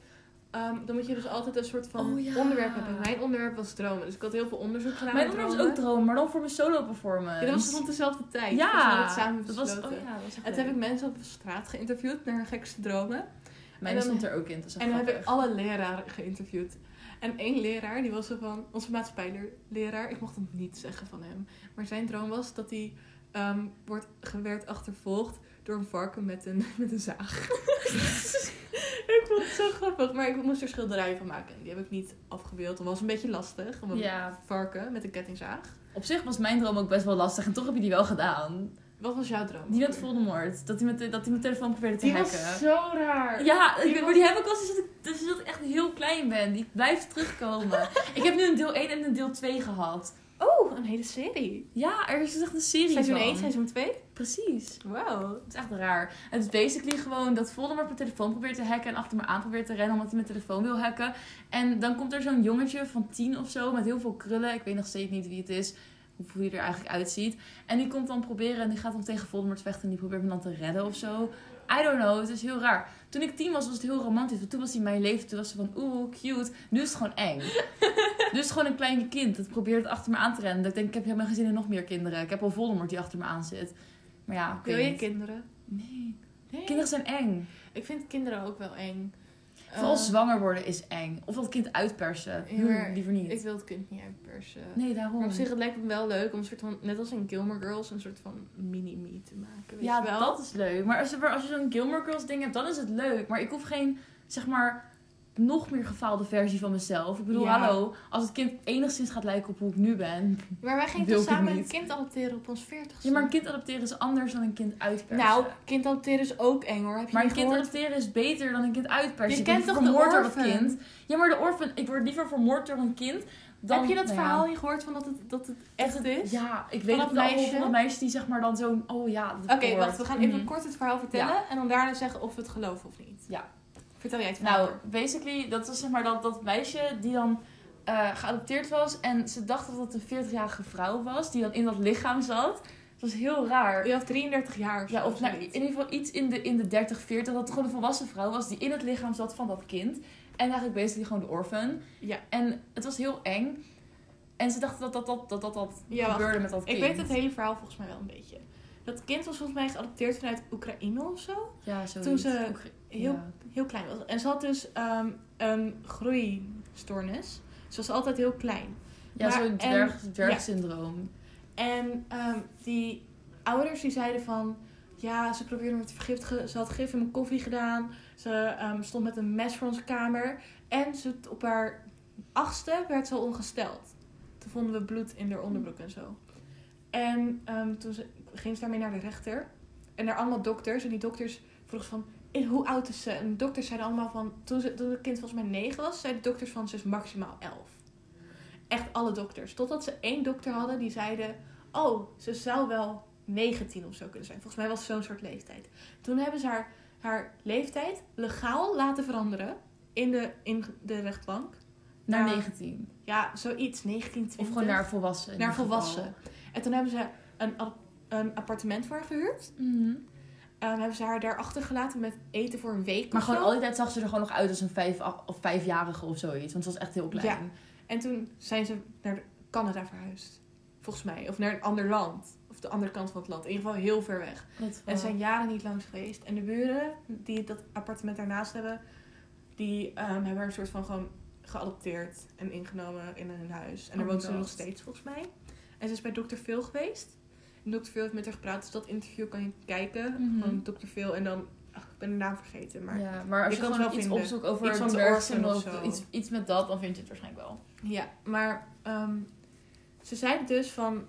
ehm, dan moet je dus altijd een soort van
Oh ja.
onderwerp hebben. Mijn onderwerp was dromen. Dus ik had heel veel onderzoek gedaan.
Mijn
met
onderwerp was
dromen.
ook dromen, maar dan voor mijn solo performance.
Ja, dat was rond dezelfde tijd.
Ja,
Dus we hadden het samen
dat was,
besloten.
oh ja, dat was echt
En toen
leuk.
heb ik mensen op straat geïnterviewd naar hun gekste dromen.
Mijn
en dan-
stond er ook in, dat is echt
en dan heb ik (laughs)
grappig.
alle leraren geïnterviewd. En één leraar, die was zo van, onze maatschappijleraar, ik mocht het niet zeggen van hem. Maar zijn droom was dat hij ehm wordt, werd achtervolgd door een varken met een, (laughs) met een zaag. ik vond het zo grappig. Maar ik moest er schilderijen van maken. En die heb ik niet afgebeeld. Dat was een beetje lastig. Om een
Ja,
varken met een kettingzaag.
op zich was mijn droom ook best wel lastig en toch heb je die wel gedaan.
Wat was jouw droom?
Die met Voldemort, dat hij met, de- dat hij mijn telefoon probeerde te
Die
hacken.
was zo raar.
Ja, ik,
Die
maar die heb ik al sinds dat ik, dus dat ik echt heel klein ben. Die blijft
(laughs)
terugkomen. ik heb nu een deel 1 en een deel 2 gehad.
Oh, een hele serie.
Ja, er is echt een serie
Seizoen
van.
1, seizoen 2?
Precies.
Wow.
Het is echt raar. Het is basically gewoon dat Voldemort mijn telefoon probeert te hacken en achter me aan probeert te rennen omdat hij mijn telefoon wil hacken. En dan komt er zo'n jongetje van tien of zo met heel veel krullen. Ik weet nog steeds niet wie het is, hoe- hoe hij er eigenlijk uitziet. En die komt dan proberen en die gaat dan tegen Voldemort vechten en die probeert me dan te redden of zo. I don't know, het is heel raar. Toen ik tien was, was het heel romantisch. Want toen was hij mijn leven, toen was ze van oeh, cute. Nu is het gewoon
(laughs)
eng. nu is het gewoon een klein kind dat probeert achter me aan te rennen. Dat ik denk, ik heb helemaal geen zin in nog meer kinderen. Ik heb al Voldemort die achter me aan zit. Maar ja, ik
Wil
weet
je
niet.
kinderen?
Nee.
Nee.
Kinderen zijn eng.
Ik vind kinderen ook wel eng.
Vooral
Eh,
zwanger worden is eng. Of dat kind uitpersen.
Ja, maar
Hm, liever niet.
Ik wil het kind niet uitpersen.
Nee, daarom.
Maar op zich, het lijkt me wel leuk om een soort van, net als in Gilmore Girls, een soort van mini-me te maken. Weet
ja,
je wel?
dat is leuk. Maar als je, maar als je zo'n Gilmore Girls ding hebt, dan is het leuk. Maar ik hoef geen, zeg maar, nog meer gefaalde versie van mezelf. Ik bedoel,
Ja.
hallo, als het kind enigszins gaat lijken op hoe ik nu ben.
Maar wij gingen
Wil
toch
ik het
samen een
niet.
kind adopteren op ons 40
Ja, maar een kind adopteren is anders dan een kind uitpersen.
Nou, kind adopteren is ook eng hoor. Heb je
maar een
niet
kind
gehoord?
adopteren is beter dan een kind uitpersen.
Je
Ik word
kent toch de
vermoord door dat
orphan?
kind? Ja, maar de orphan, ik word liever vermoord door een kind dan...
Heb je dat
nou ja.
verhaal niet gehoord van dat het, dat het echt is?
Ja, ik weet
Van
het
dat
wel
meisje?
van dat meisje die zeg maar dan zo'n... Oh ja, dat
Oké,
hoort.
wacht. We gaan even
Mhm.
kort het verhaal vertellen. En dan daarna zeggen of we het geloven of niet.
Ja.
Vertel jij het verhaal.
Nou, basically, dat was zeg maar dat, dat meisje die dan eh, geadopteerd was. En ze dacht dat het een 40-jarige vrouw was die dan in dat lichaam zat. Dat was heel raar.
Je was 33 jaar of zo.
Ja, of nou, in
zoiets.
ieder geval iets in de, in de 30, 40. Dat het gewoon een volwassen vrouw was die in het lichaam zat van dat kind. En eigenlijk basically gewoon de orphan.
Ja.
En het was heel eng. En ze dachten dat dat, dat, dat, dat, dat
Ja, wacht.
gebeurde met dat kind.
Ik weet het hele verhaal volgens mij wel een beetje. Dat kind was volgens mij geadopteerd vanuit Oekraïne of zo.
Ja, zo
Toen ze heel, heel klein was. En ze had dus ehm, een groeistoornis. Ze was altijd heel klein.
Ja,
Maar-
zo'n
en-
dwerg, dwergsyndroom.
En ehm, die ouders die zeiden van... Ja, ze probeerde me te vergiftigen. Ze had gif in mijn koffie gedaan. Ze ehm, stond met een mes voor onze kamer. En ze, op haar achtste werd ze al ongesteld. Toen vonden we bloed in haar onderbroek en zo. En ehm, toen ze, ging ze daarmee naar de rechter. En naar allemaal dokters. En die dokters vroegen van... "Eh, Hoe oud is ze? En de dokters zeiden allemaal van... Toen, ze, toen het kind volgens mij negen was, zeiden de dokters van ze is maximaal elf. Echt alle dokters. Totdat ze één dokter hadden die zeiden... Oh, ze zou wel 19 of zo kunnen zijn. Volgens mij was het zo'n soort leeftijd. Toen hebben ze haar, haar leeftijd legaal laten veranderen in de, in de rechtbank.
Naar
Ja.
19.
Ja, zoiets. 19, 20.
Of gewoon naar volwassen. in
Naar
ieder geval.
volwassen. En toen hebben ze een, app- een appartement voor haar gehuurd.
Mhm.
Ehm hebben ze haar daar achtergelaten met eten voor een week
Maar
of
gewoon
zo.
al die tijd zag ze er gewoon nog uit als een vijf, of vijfjarige of zoiets. Want ze was echt heel klein.
Ja. En toen zijn ze naar Canada verhuisd. Volgens mij. Of naar een ander land. Of de andere kant van het land. In ieder geval heel ver weg.
Wat
En zijn jaren niet langs geweest. En de buren die dat appartement daarnaast hebben, die ehm, hebben haar een soort van gewoon geadopteerd en ingenomen in hun huis. En daar
Oh
woont
my
ze nog
God.
steeds volgens mij. En ze is bij Dr. Phil geweest. En Dr. Phil heeft met haar gepraat, dus dat interview kan je kijken.
Mhm.
Van Dr. Phil en dan, ach, ik ben de naam vergeten, maar ja.
ja, maar als
je
je,
kan het
gewoon
wel
iets
vinden.
opzoekt over
Iets
iets
van de
dwergsyndroom
orphan of
of
zo.
iets, iets met dat, dan vind je het waarschijnlijk wel.
maar ehm, ze zei dus van,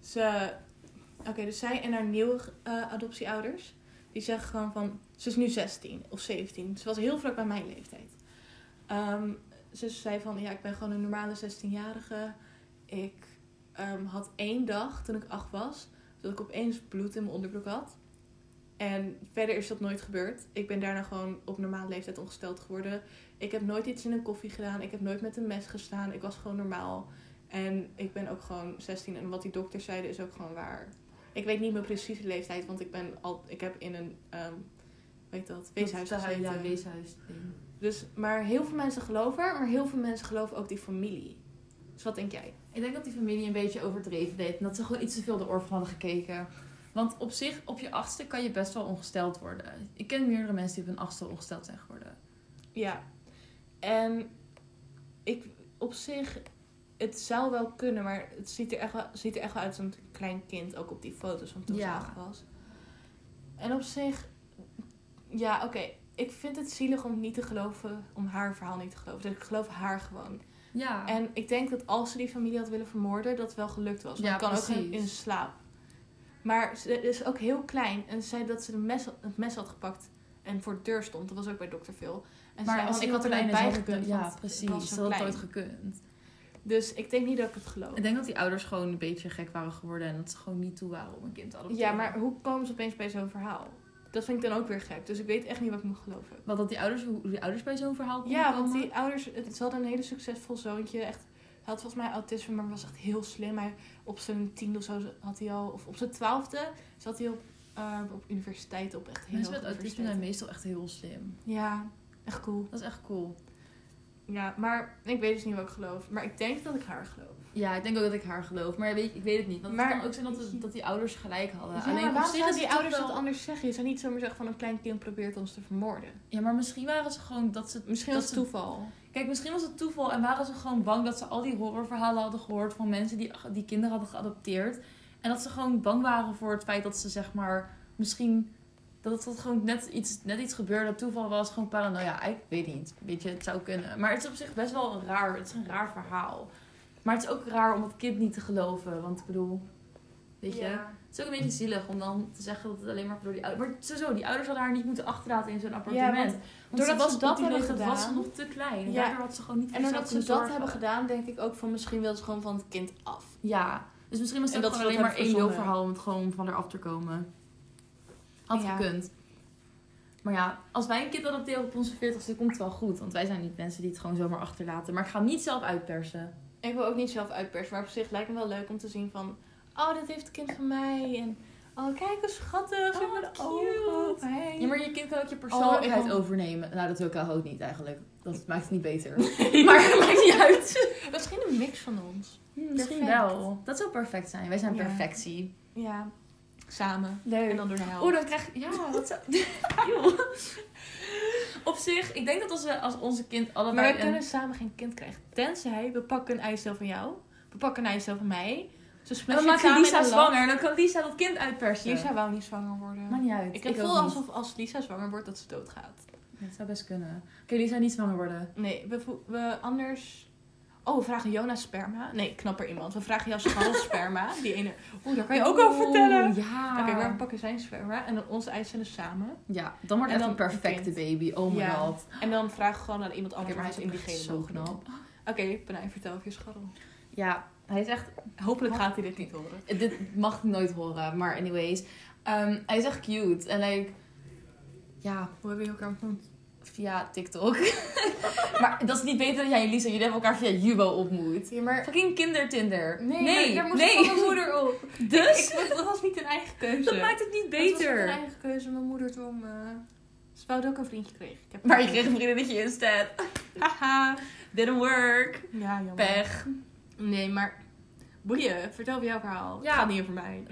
ze, oké, dus zij en haar nieuwe eh, adoptieouders, Die zeggen gewoon van, ze is nu 16 of 17. Ze was heel vlak bij mijn leeftijd. Ehm, ze zei van, ja, ik ben gewoon een normale 16-jarige. Ik ehm, had één dag toen ik acht was, dat ik opeens bloed in mijn onderbroek had. En verder is dat nooit gebeurd. Ik ben daarna gewoon op normale leeftijd ongesteld geworden. Ik heb nooit iets in een koffie gedaan. Ik heb nooit met een mes gestaan. Ik was gewoon normaal. En ik ben ook gewoon 16. En wat die dokters zeiden is ook gewoon waar. Ik weet niet mijn precieze leeftijd, want ik ben al, ik heb in een, ehm weet dat, weeshuis gezeten.
Ja, weeshuis.
Dus, maar heel veel mensen geloven haar, maar heel veel mensen geloven ook die familie. Dus wat denk jij?
Ik denk dat die familie een beetje overdreven deed. En dat ze gewoon iets te veel de orphan hadden gekeken. Want op zich, op je achtste kan je best wel ongesteld worden. Ik ken meerdere mensen die op hun achtste ongesteld zijn geworden.
Ja. En ik, op zich, het zou wel kunnen, maar het ziet er echt wel, ziet er echt wel uit als een klein kind, ook op die foto's van toen ze
Ja.
acht was. En op zich, ja, oké. Ik vind het zielig om niet te geloven, om haar verhaal niet te geloven. Dus ik geloof haar gewoon.
Ja.
En ik denk dat als ze die familie had willen vermoorden, dat wel gelukt was. Want
Ja,
het kan ook
precies.
in- in slaap. Maar ze is ook heel klein. En ze zei dat ze de mes, het mes had gepakt en voor de deur stond. Dat was ook bij dokter Phil. En ze
maar
zei,
als
"Want
ik had er
niet
bij
bij
gekund.
gekund.
Ja,
want ik was
precies.
zo
Ze had het
klein." Oh.
ooit gekund.
Dus ik denk niet dat ik het geloof.
Ik denk dat die ouders gewoon een beetje gek waren geworden. En dat ze gewoon niet toe waren om een kind te adopteren.
Ja, maar hoe komen ze opeens bij zo'n verhaal? Dat vind ik dan ook weer gek. Dus ik weet echt niet wat ik moet geloven.
Wat dat die ouders, hoe die ouders bij zo'n verhaal konden
Ja,
komen.
want die ouders, het, ze hadden een hele succesvol zoontje. Echt, hij had volgens mij autisme, maar was echt heel slim. Hij, op zijn tiende of zo had hij al, of op zijn twaalfde zat hij op, eh, op universiteit, op echt heel
Mensen met
hoge
autisme zijn
universiteiten.
meestal echt heel slim.
Ja, echt cool.
Dat is echt cool.
Ja, maar ik weet dus niet wat ik geloof. Maar ik denk dat ik haar geloof.
Ja, ik denk ook dat ik haar geloof. Maar weet, ik weet het niet. Want
Maar-
het kan ook zijn dat, het- dat die ouders gelijk hadden.
Ja, maar waarom
is
zouden die
het toch
ouders
wel-
dat anders zeggen? Je zou niet zomaar zeggen van een klein kind probeert ons te vermoorden.
Ja, maar misschien waren ze gewoon dat ze...
Misschien
Dat
was het
ze-
toeval.
Kijk, misschien was het toeval en waren ze gewoon bang dat ze al die horrorverhalen hadden gehoord van mensen die, die kinderen hadden geadopteerd. En dat ze gewoon bang waren voor het feit dat ze zeg maar misschien... Dat het dat gewoon net iets, net iets gebeurde, dat toeval was, gewoon paranoia. Nou Ik weet niet, weet je, het zou kunnen. Maar het is op zich best wel een raar, het is een raar verhaal. Maar het is ook raar om het kind niet te geloven, want ik bedoel, weet je... Het is ook een beetje zielig om dan te zeggen dat het alleen maar door die ouders... Maar sowieso, die ouders hadden haar niet moeten achterlaten in zo'n appartement.
Ja, want
want
doordat ze
op
dat
die
hebben
leeftijd was ze
gedaan-
nog te klein. En
Ja.
daardoor had ze gewoon niet
En
voor
doordat ze
zichzelf
dat
kunnen
hebben
zorgen.
gedaan, denk ik ook van misschien wil ze gewoon van het kind af.
Ja, dus misschien was
En
het
dat
ook
ze
gewoon alleen
dat
maar één
hebben verzonnen.
verhaal om het gewoon van eraf te komen. Had
Ja.
gekund. Maar ja, als wij een kind adopteren op onze 40ste, komt het wel goed. Want wij zijn niet mensen die het gewoon zomaar achterlaten. Maar ik ga hem niet zelf uitpersen.
Ik wil ook niet zelf uitpersen, maar op zich lijkt me wel leuk om te zien van... Oh, dat heeft het kind van mij. En oh, kijk hoe schattig.
Oh,
Oh,
wat
met ogen op
cute.
heen.
Ja, maar je kind kan ook je persoonlijkheid
Oh, ik-
overnemen. Nou, dat wil ik ook niet eigenlijk. Dat maakt het niet
(laughs)
beter. Maar het maakt niet uit.
Misschien een mix van ons.
Misschien
Perfect.
wel. Dat zou perfect zijn. Wij zijn
Ja.
perfectie.
Ja. Samen. En
Leuk.
dan door de helft.
Oh, dan krijg je... Ja, wat zou... (laughs) Joh. Op zich, ik denk dat als, we, als onze kind allebei...
maar we
een-
kunnen samen geen kind krijgen. Tenzij we pakken een eicel van jou. We pakken een eicel van mij. Ze
En
smashen
dan
het
maak je
samen in
Lisa
een lamp.
zwanger. Dan kan Lisa dat kind uitpersen.
Lisa wou niet zwanger worden.
Maakt niet uit.
ik
Ik
heb voel
ook niet.
alsof als Lisa zwanger wordt dat ze doodgaat.
Ja, Het zou best kunnen. Oké, Lisa niet zwanger worden.
Nee, we, vo- we anders... Oh, we vragen Jonas sperma. Nee, knapper iemand. We vragen jouw (laughs) scharrel sperma. Die ene... Oeh, Ah. daar kan je ook
al
over vertellen.
Ja.
Oké, maar we pakken zijn sperma en dan onze eicellen samen.
Ja, dan wordt
En
het echt
dan
een perfecte
een
baby. Oh my
Ja.
god.
En dan vragen we gewoon aan iemand anders
Oké, maar
of
hij
ze
is
in die
echt
gele
zo
mogen doen.
knap.
Oké, Benai, vertel over je scharrel.
Ja, hij is echt...
Hopelijk gaat hij dit niet horen.
Dit mag ik nooit horen, maar anyways. Ehm, hij is echt cute. En like... Ja,
Hoe hebben jullie elkaar ontmoet?
via TikTok. (laughs) maar dat is niet beter dan jij en Lisa. Jullie hebben elkaar via Jubo ontmoet.
Ja, maar...
Fucking kindertinder.
Nee,
nee.
maar daar moest
nee.
van mijn moeder op.
(laughs)
(laughs)
Dus?
Ik, ik- dat was niet een eigen keuze.
dat maakt het niet
Het was
beter.
niet een eigen keuze. Mijn moeder toen... eh, ze wou dat ik ook een vriendje kreeg. Ik heb
Maar je kreeg een vriendinnetje instead. Haha, didn't work.
Ja, jammer.
Pech.
Nee, maar... Boeien, vertel bij jouw verhaal.
Ja.
Het gaat niet over mij.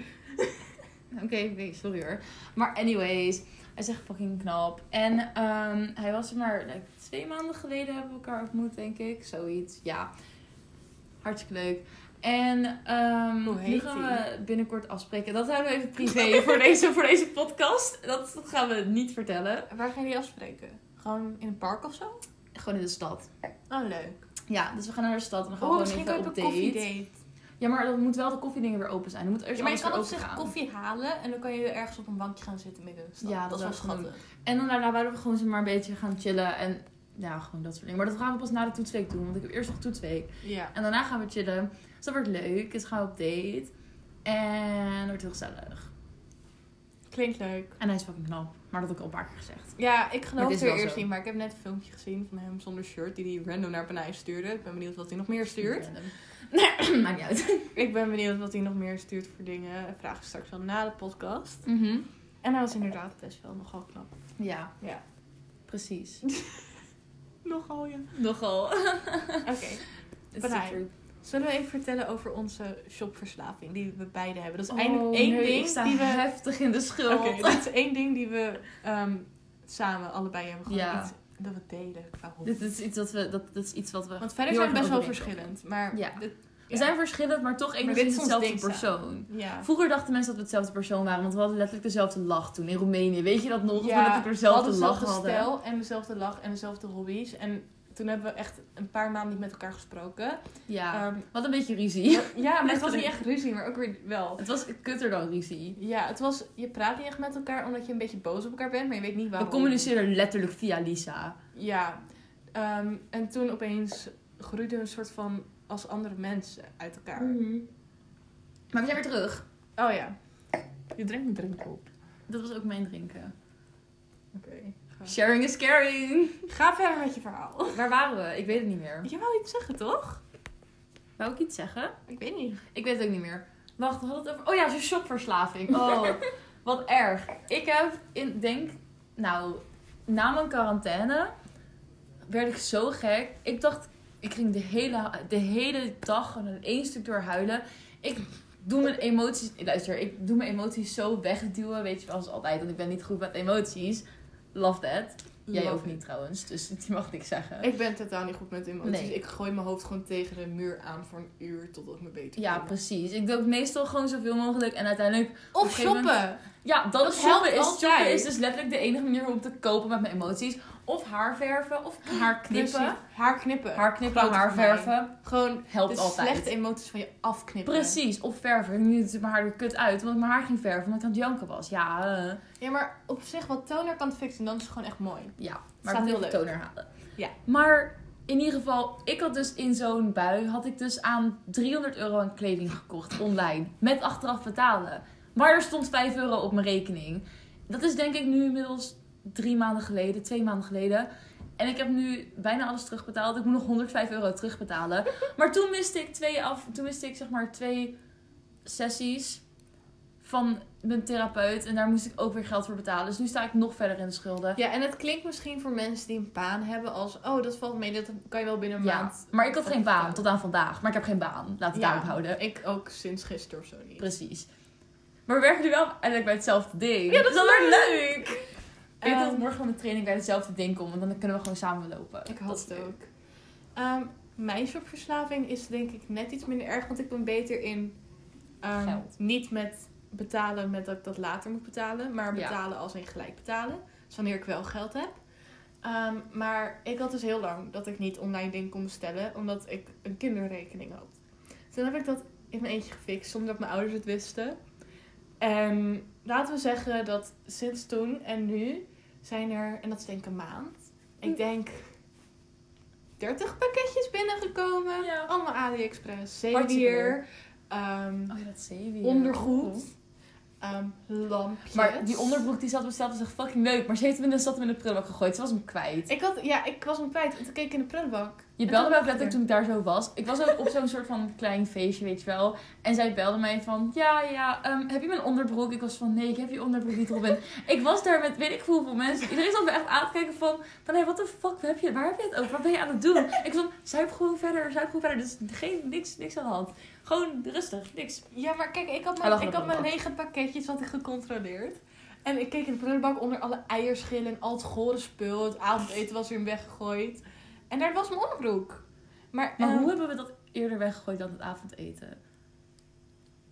Oké, (laughs) oké, sorry hoor. Maar anyways, hij is echt fucking knap. En ehm, hij was er maar like, twee maanden geleden hebben we elkaar ontmoet, denk ik. Zoiets, ja. Hartstikke leuk. En ehm,
Hoe
nu
heet
gaan
hij?
we binnenkort afspreken. Dat houden we
(laughs)
even privé voor, deze, voor deze podcast. Dat gaan we niet vertellen.
Waar gaan jullie afspreken? Gewoon in een park of zo?
Gewoon in de stad.
Oh, leuk.
Ja, dus we gaan naar de stad en dan gaan
Oh,
we
misschien
gewoon
kan je
even
op
op
een
date.
koffiedate.
Ja, maar dan moet wel de koffiedingen weer open zijn. Dan moet eerst
Ja, maar je
alles
kan
weer
op
open
zich
gaan.
koffie halen en dan kan je ergens op een bankje gaan zitten midden in de stad.
Ja,
dat,
dat
is wel
zou ik gewoon
schattig.
En dan daarna waren we gewoon zo maar een beetje gaan chillen. En ja, gewoon dat soort dingen. Maar dat gaan we pas na de toetsweek doen. Want ik heb eerst nog toetsweek.
Ja.
En daarna gaan we chillen. Dus dat wordt leuk. Dus gaan we op date. En dat wordt heel gezellig.
Klinkt leuk.
En hij is fucking knap. Maar dat heb ik al een paar keer gezegd.
Ja, ik geloof
het
het
is
er
wel
eerst
zo.
niet, maar ik heb net een filmpje gezien van hem zonder shirt die hij random naar Panay stuurde. Ik ben benieuwd wat hij nog meer stuurt.
Random. (laughs) Nee, (clears throat) maakt niet uit.
Ik ben benieuwd wat hij nog meer stuurt voor dingen. Dat Vraag ik straks wel na de podcast. En hij was inderdaad best wel nogal knap.
Ja,
Ja.
precies.
Nogal, ja.
(laughs) Nogal.
Oké.
It's the
hij-
truth.
Zullen we even vertellen over onze shopverslaving die we beide hebben? Dat is
Oh,
eindelijk Dus één
nee, Ik
ding
sta
die we
(laughs) heftig in de schuld.
Oké, dat is één ding die we ehm, samen allebei hebben. Gewoon
Ja.
iets dat we delen qua
(laughs)
hobby.
Dit is iets dat we... Dat, dat is iets wat we...
Want verder
heel
zijn we
erg
best wel
overeenkomen.
verschillend. Maar
Ja.
dit-
We zijn verschillend, maar toch
dit
enigszins
is ons
dezelfde
ding samen.
persoon.
ja.
Vroeger dachten mensen dat we hetzelfde persoon waren, want we hadden letterlijk dezelfde lach toen in Roemenië. Weet je dat nog?
Ja,
dat we
we
dezelfde
hadden
lach
dezelfde
hadden.
stijl en dezelfde lach en dezelfde hobby's. En toen hebben we echt een paar maanden niet met elkaar gesproken.
Ja,
Ehm,
wat een beetje ruzie.
ja, maar het was
Letterlijk.
niet echt ruzie, maar ook weer wel.
(laughs) Het was kutter dan ruzie.
Ja, het was, je praat niet echt met elkaar omdat je een beetje boos op elkaar bent, maar je weet niet waarom.
We communiceren letterlijk via Lisa.
Ja. Ehm, en toen opeens groeide we een soort van als andere mensen uit elkaar.
Mhm. Maar we zijn weer terug.
Oh ja. Je drinkt een drink op.
Dat was ook mijn drinken.
Oké. Ga.
Sharing is caring.
Ga verder met je verhaal.
Waar waren we? Ik weet het niet meer.
Je wou iets zeggen, toch?
Wou ik iets zeggen?
Ik weet niet.
Ik weet het ook niet meer. Wacht, we hadden het over... Oh ja, zo'n shopverslaving.
(laughs)
Oh, wat erg. Ik heb, in, denk, nou, na mijn quarantaine werd ik zo gek. Ik dacht, ik ging de hele, de hele dag gewoon in één stuk door huilen. Ik doe mijn emoties, luister, ik doe mijn emoties zo wegduwen, weet je wel, als altijd. Want ik ben niet goed met emoties. Love that. Jij
Love
ook niet trouwens, dus (laughs) die mag niks zeggen.
Ik ben totaal niet goed met emoties.
Nee.
Ik gooi mijn hoofd gewoon tegen de muur aan voor een uur totdat ik me beter
Ja,
voel.
precies. Ik doe ook meestal gewoon zoveel mogelijk en uiteindelijk Op een
Of
gegeven
shoppen.
Ja, dat,
Dat
is shoppen.
helpt
Is,
altijd.
shoppen is dus letterlijk de enige manier om te kopen met mijn emoties. Of haar verven, of
(gasps)
haar knippen.
Precies. Haar knippen.
Haar knippen,
Groot
haar
voor mij.
verven.
Gewoon
Helpt
de
altijd.
slechte emoties van je afknippen.
Precies, of verven. Nu ziet mijn haar er kut uit, want ik mijn haar ging verven omdat ik aan het janken was. Ja, eh,
Ja, maar op zich wat toner kan fixen, dan is het gewoon echt mooi.
ja. maar ik
Staat heel
moet de
leuk.
toner halen.
Ja.
Maar in ieder geval, ik had dus in zo'n bui, had ik dus aan 300 euro aan kleding gekocht online. Met achteraf betalen. Maar er stond 5 euro op mijn rekening. Dat is denk ik nu inmiddels drie maanden geleden, twee maanden geleden. En ik heb nu bijna alles terugbetaald.
(laughs)
Ik moet nog 105 euro terugbetalen. Maar toen miste ik twee af. Toen miste ik zeg maar twee sessies van mijn therapeut. En daar moest ik ook weer geld voor betalen. Dus nu sta ik nog verder in de schulden.
Ja, en het klinkt misschien voor mensen die een baan hebben als... Oh, dat valt mee, dat kan je wel binnen een
Ja,
maand.
maar ik had geen baan
opbouwen.
tot aan vandaag. Maar ik heb geen baan. Laat het
Ja.
daarop houden.
Ik ook sinds gisteren of zo niet.
Precies. Maar we werken nu wel uiteindelijk bij hetzelfde ding.
Ja, dat is
dan weer
leuk.
Ik denk dat
Ehm,
het morgen van de training bij hetzelfde ding komt. Want dan kunnen we gewoon samen lopen.
Ik
Dat
had
is
het
leuk.
ook. Ehm, mijn shopverslaving is denk ik net iets minder erg, want ik ben beter in ehm,
Geld.
niet met betalen met dat ik dat later moet betalen, maar
Ja.
betalen als in gelijk betalen. Dus wanneer ik wel geld heb. Ehm, maar ik had dus heel lang dat ik niet online dingen kon bestellen, omdat ik een kinderrekening had. Toen heb ik dat in mijn eentje gefixt, zonder dat mijn ouders het wisten. En Ehm, laten we zeggen dat sinds toen en nu zijn er, en dat is denk ik een maand,
Hm.
ik denk 30 pakketjes binnengekomen.
Ja.
Allemaal AliExpress,
Hartstikke
zeewier, ehm
Oh ja, dat zeewier.
ondergoed, ehm lampjes.
Maar die onderbroek die zat besteld was echt fucking leuk. Maar ze heeft hem in de, zat hem in de prullenbak gegooid. Ze was hem kwijt.
Ik, had, ja, ik was hem kwijt, want ik keek in de prullenbak.
Je
En
belde
toen
mij ook
dacht ik
letterlijk toen ik daar zo was. Ik was ook op zo'n soort van klein feestje, weet je wel. En zij belde mij van, ja, ja, ehm, heb je mijn onderbroek? Ik was van, nee, ik heb je onderbroek niet, Robin. (laughs) ik was daar met weet ik hoeveel mensen. Iedereen zat me echt aan te kijken van, van hé, wat de fuck, heb je, waar heb je het over? Wat ben je aan het doen? (laughs) Ik was van, zuip gewoon verder, zuip gewoon verder. Dus geen, niks, niks aan de hand. Gewoon rustig, niks.
Ja, maar kijk, ik had
Hij lag
mijn,
in de
ik had mijn
prullenbak.
negen pakketjes had ik gecontroleerd. En ik keek in de prullenbak onder alle eierschillen en al het gore spul. Het avondeten was weer weggegooid. En daar was mijn onderbroek. Maar,
Maar
ehm,
hoe hebben we dat eerder weggegooid dan het avondeten?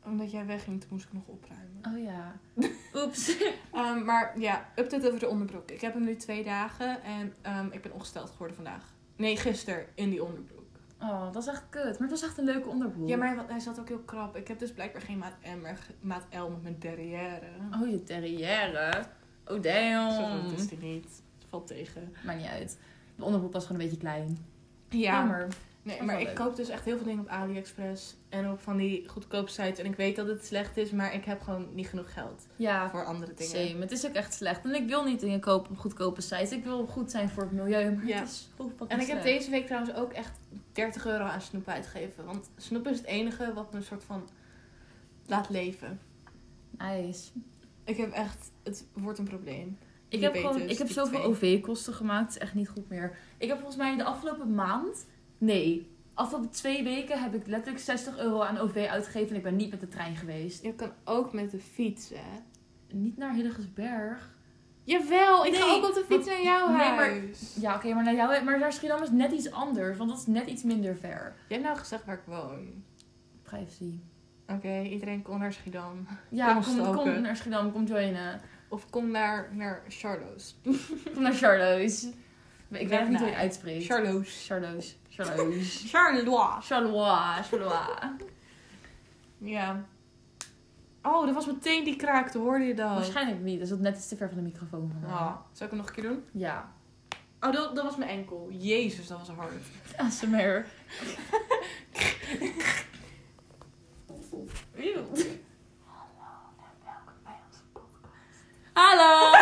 Omdat jij wegging, toen moest ik nog opruimen.
Oh ja. (laughs) Oeps.
Ehm, maar ja, update over de onderbroek. Ik heb hem nu twee dagen en ehm, ik ben ongesteld geworden vandaag. Nee, gisteren in die onderbroek.
Oh, dat is echt kut. Maar het was echt een leuke onderbroek.
Ja, maar hij, wa- hij zat ook heel krap. Ik heb dus blijkbaar geen maat M, maar ge- maat L met mijn derrière.
Oh, je derrière. Oh,
Zo groot
damn.
is die niet. Valt tegen.
Maakt niet uit. De onderbroek was gewoon een beetje klein.
Ja,
Jammer.
Nee,
Dat
maar
is
ik
wel leuk.
koop dus echt heel veel dingen op AliExpress en op van die goedkope sites. En ik weet dat het slecht is, maar ik heb gewoon niet genoeg geld
Ja,
voor andere dingen.
same. Het is ook echt slecht. En ik wil niet dingen kopen op goedkope sites. Ik wil goed zijn voor het milieu. Maar
Ja.
het is zo fucking
En ik heb
slecht.
deze week trouwens ook echt 30 euro aan snoep uitgegeven. Want snoep is het enige wat me een soort van laat leven.
Nice.
Ik heb echt, het wordt een probleem.
Ik heb,
Diabetes,
gewoon, ik heb
type
zoveel
2.
OV-kosten gemaakt. Het is echt niet goed meer. Ik heb volgens mij de afgelopen maand... Nee, afgelopen twee weken heb ik letterlijk 60 euro aan OV uitgegeven. En ik ben niet met de trein geweest.
Je kan ook met de fiets, hè?
Niet naar Hillegersberg.
Jawel, ik
Nee,
ga ook op de fiets naar jouw
nee, maar-
huis.
Ja, oké, maar naar jou... Maar naar Schiedam is net iets anders. Want dat is net iets minder ver.
Je hebt nou gezegd waar ik woon.
Privacy.
Oké, iedereen kon naar Schiedam.
Ja,
Kom
kom, kom,
stalken.
naar Schiedam, kom joinen.
Of kom naar, naar Charlo's.
Kom naar Charloes. Ik weet
Nee,
echt niet hoe je
nee.
het uitspreekt.
Charlo's.
Charloes. Charloes.
Charlois.
Charlois. Charlois.
Ja. Oh, er was meteen die kraakte, hoorde je dat?
Waarschijnlijk niet, dus dat net iets te ver van de microfoon. vandaan.
Oh, zou ik hem nog een keer doen?
Ja.
Oh, dat, dat was mijn enkel. Jezus, dat was hard.
ASMR. Eeuw. Hallo!
(laughs)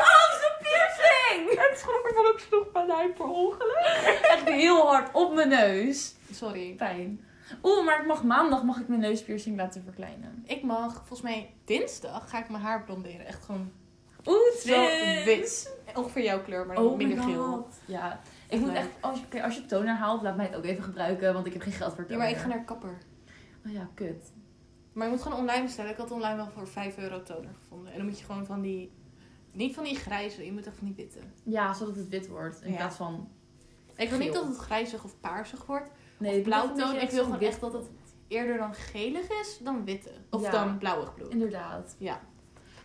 Oh, zijn piercing!
Het schrok van ook sloeg bij mij per ongeluk.
Echt heel hard op mijn neus.
Sorry.
Pijn. Oeh, maar ik mag maandag mag ik mijn neuspiercing laten verkleinen.
Ik mag, volgens mij dinsdag ga ik mijn haar blonderen. Echt gewoon
Oeh,
Zo
twins.
wit. ongeveer jouw kleur, maar dan
Oh
minder
my
geel.
god. Ja, ik moet
leuk.
echt, als je, oké, als je toner haalt, laat mij het ook even gebruiken, want ik heb geen geld voor
Ja,
toner.
maar ik ga naar kapper.
Oh ja, kut.
Maar je moet gewoon online bestellen. Ik had online wel voor 5 euro toner gevonden. En dan moet je gewoon van die... Niet van die grijze, je moet echt van die witte.
Ja, zodat het wit wordt in
Ja.
plaats van...
Ik wil niet
Geel.
dat het grijzig of paarsig wordt.
Nee,
of
het moet echt
blauw
een beetje
toon. Ik
echt
wil
zo'n
gewoon
wit-
echt dat het eerder dan gelig is dan witte. Of
Ja.
dan blauwig bloed.
Inderdaad.
Ja.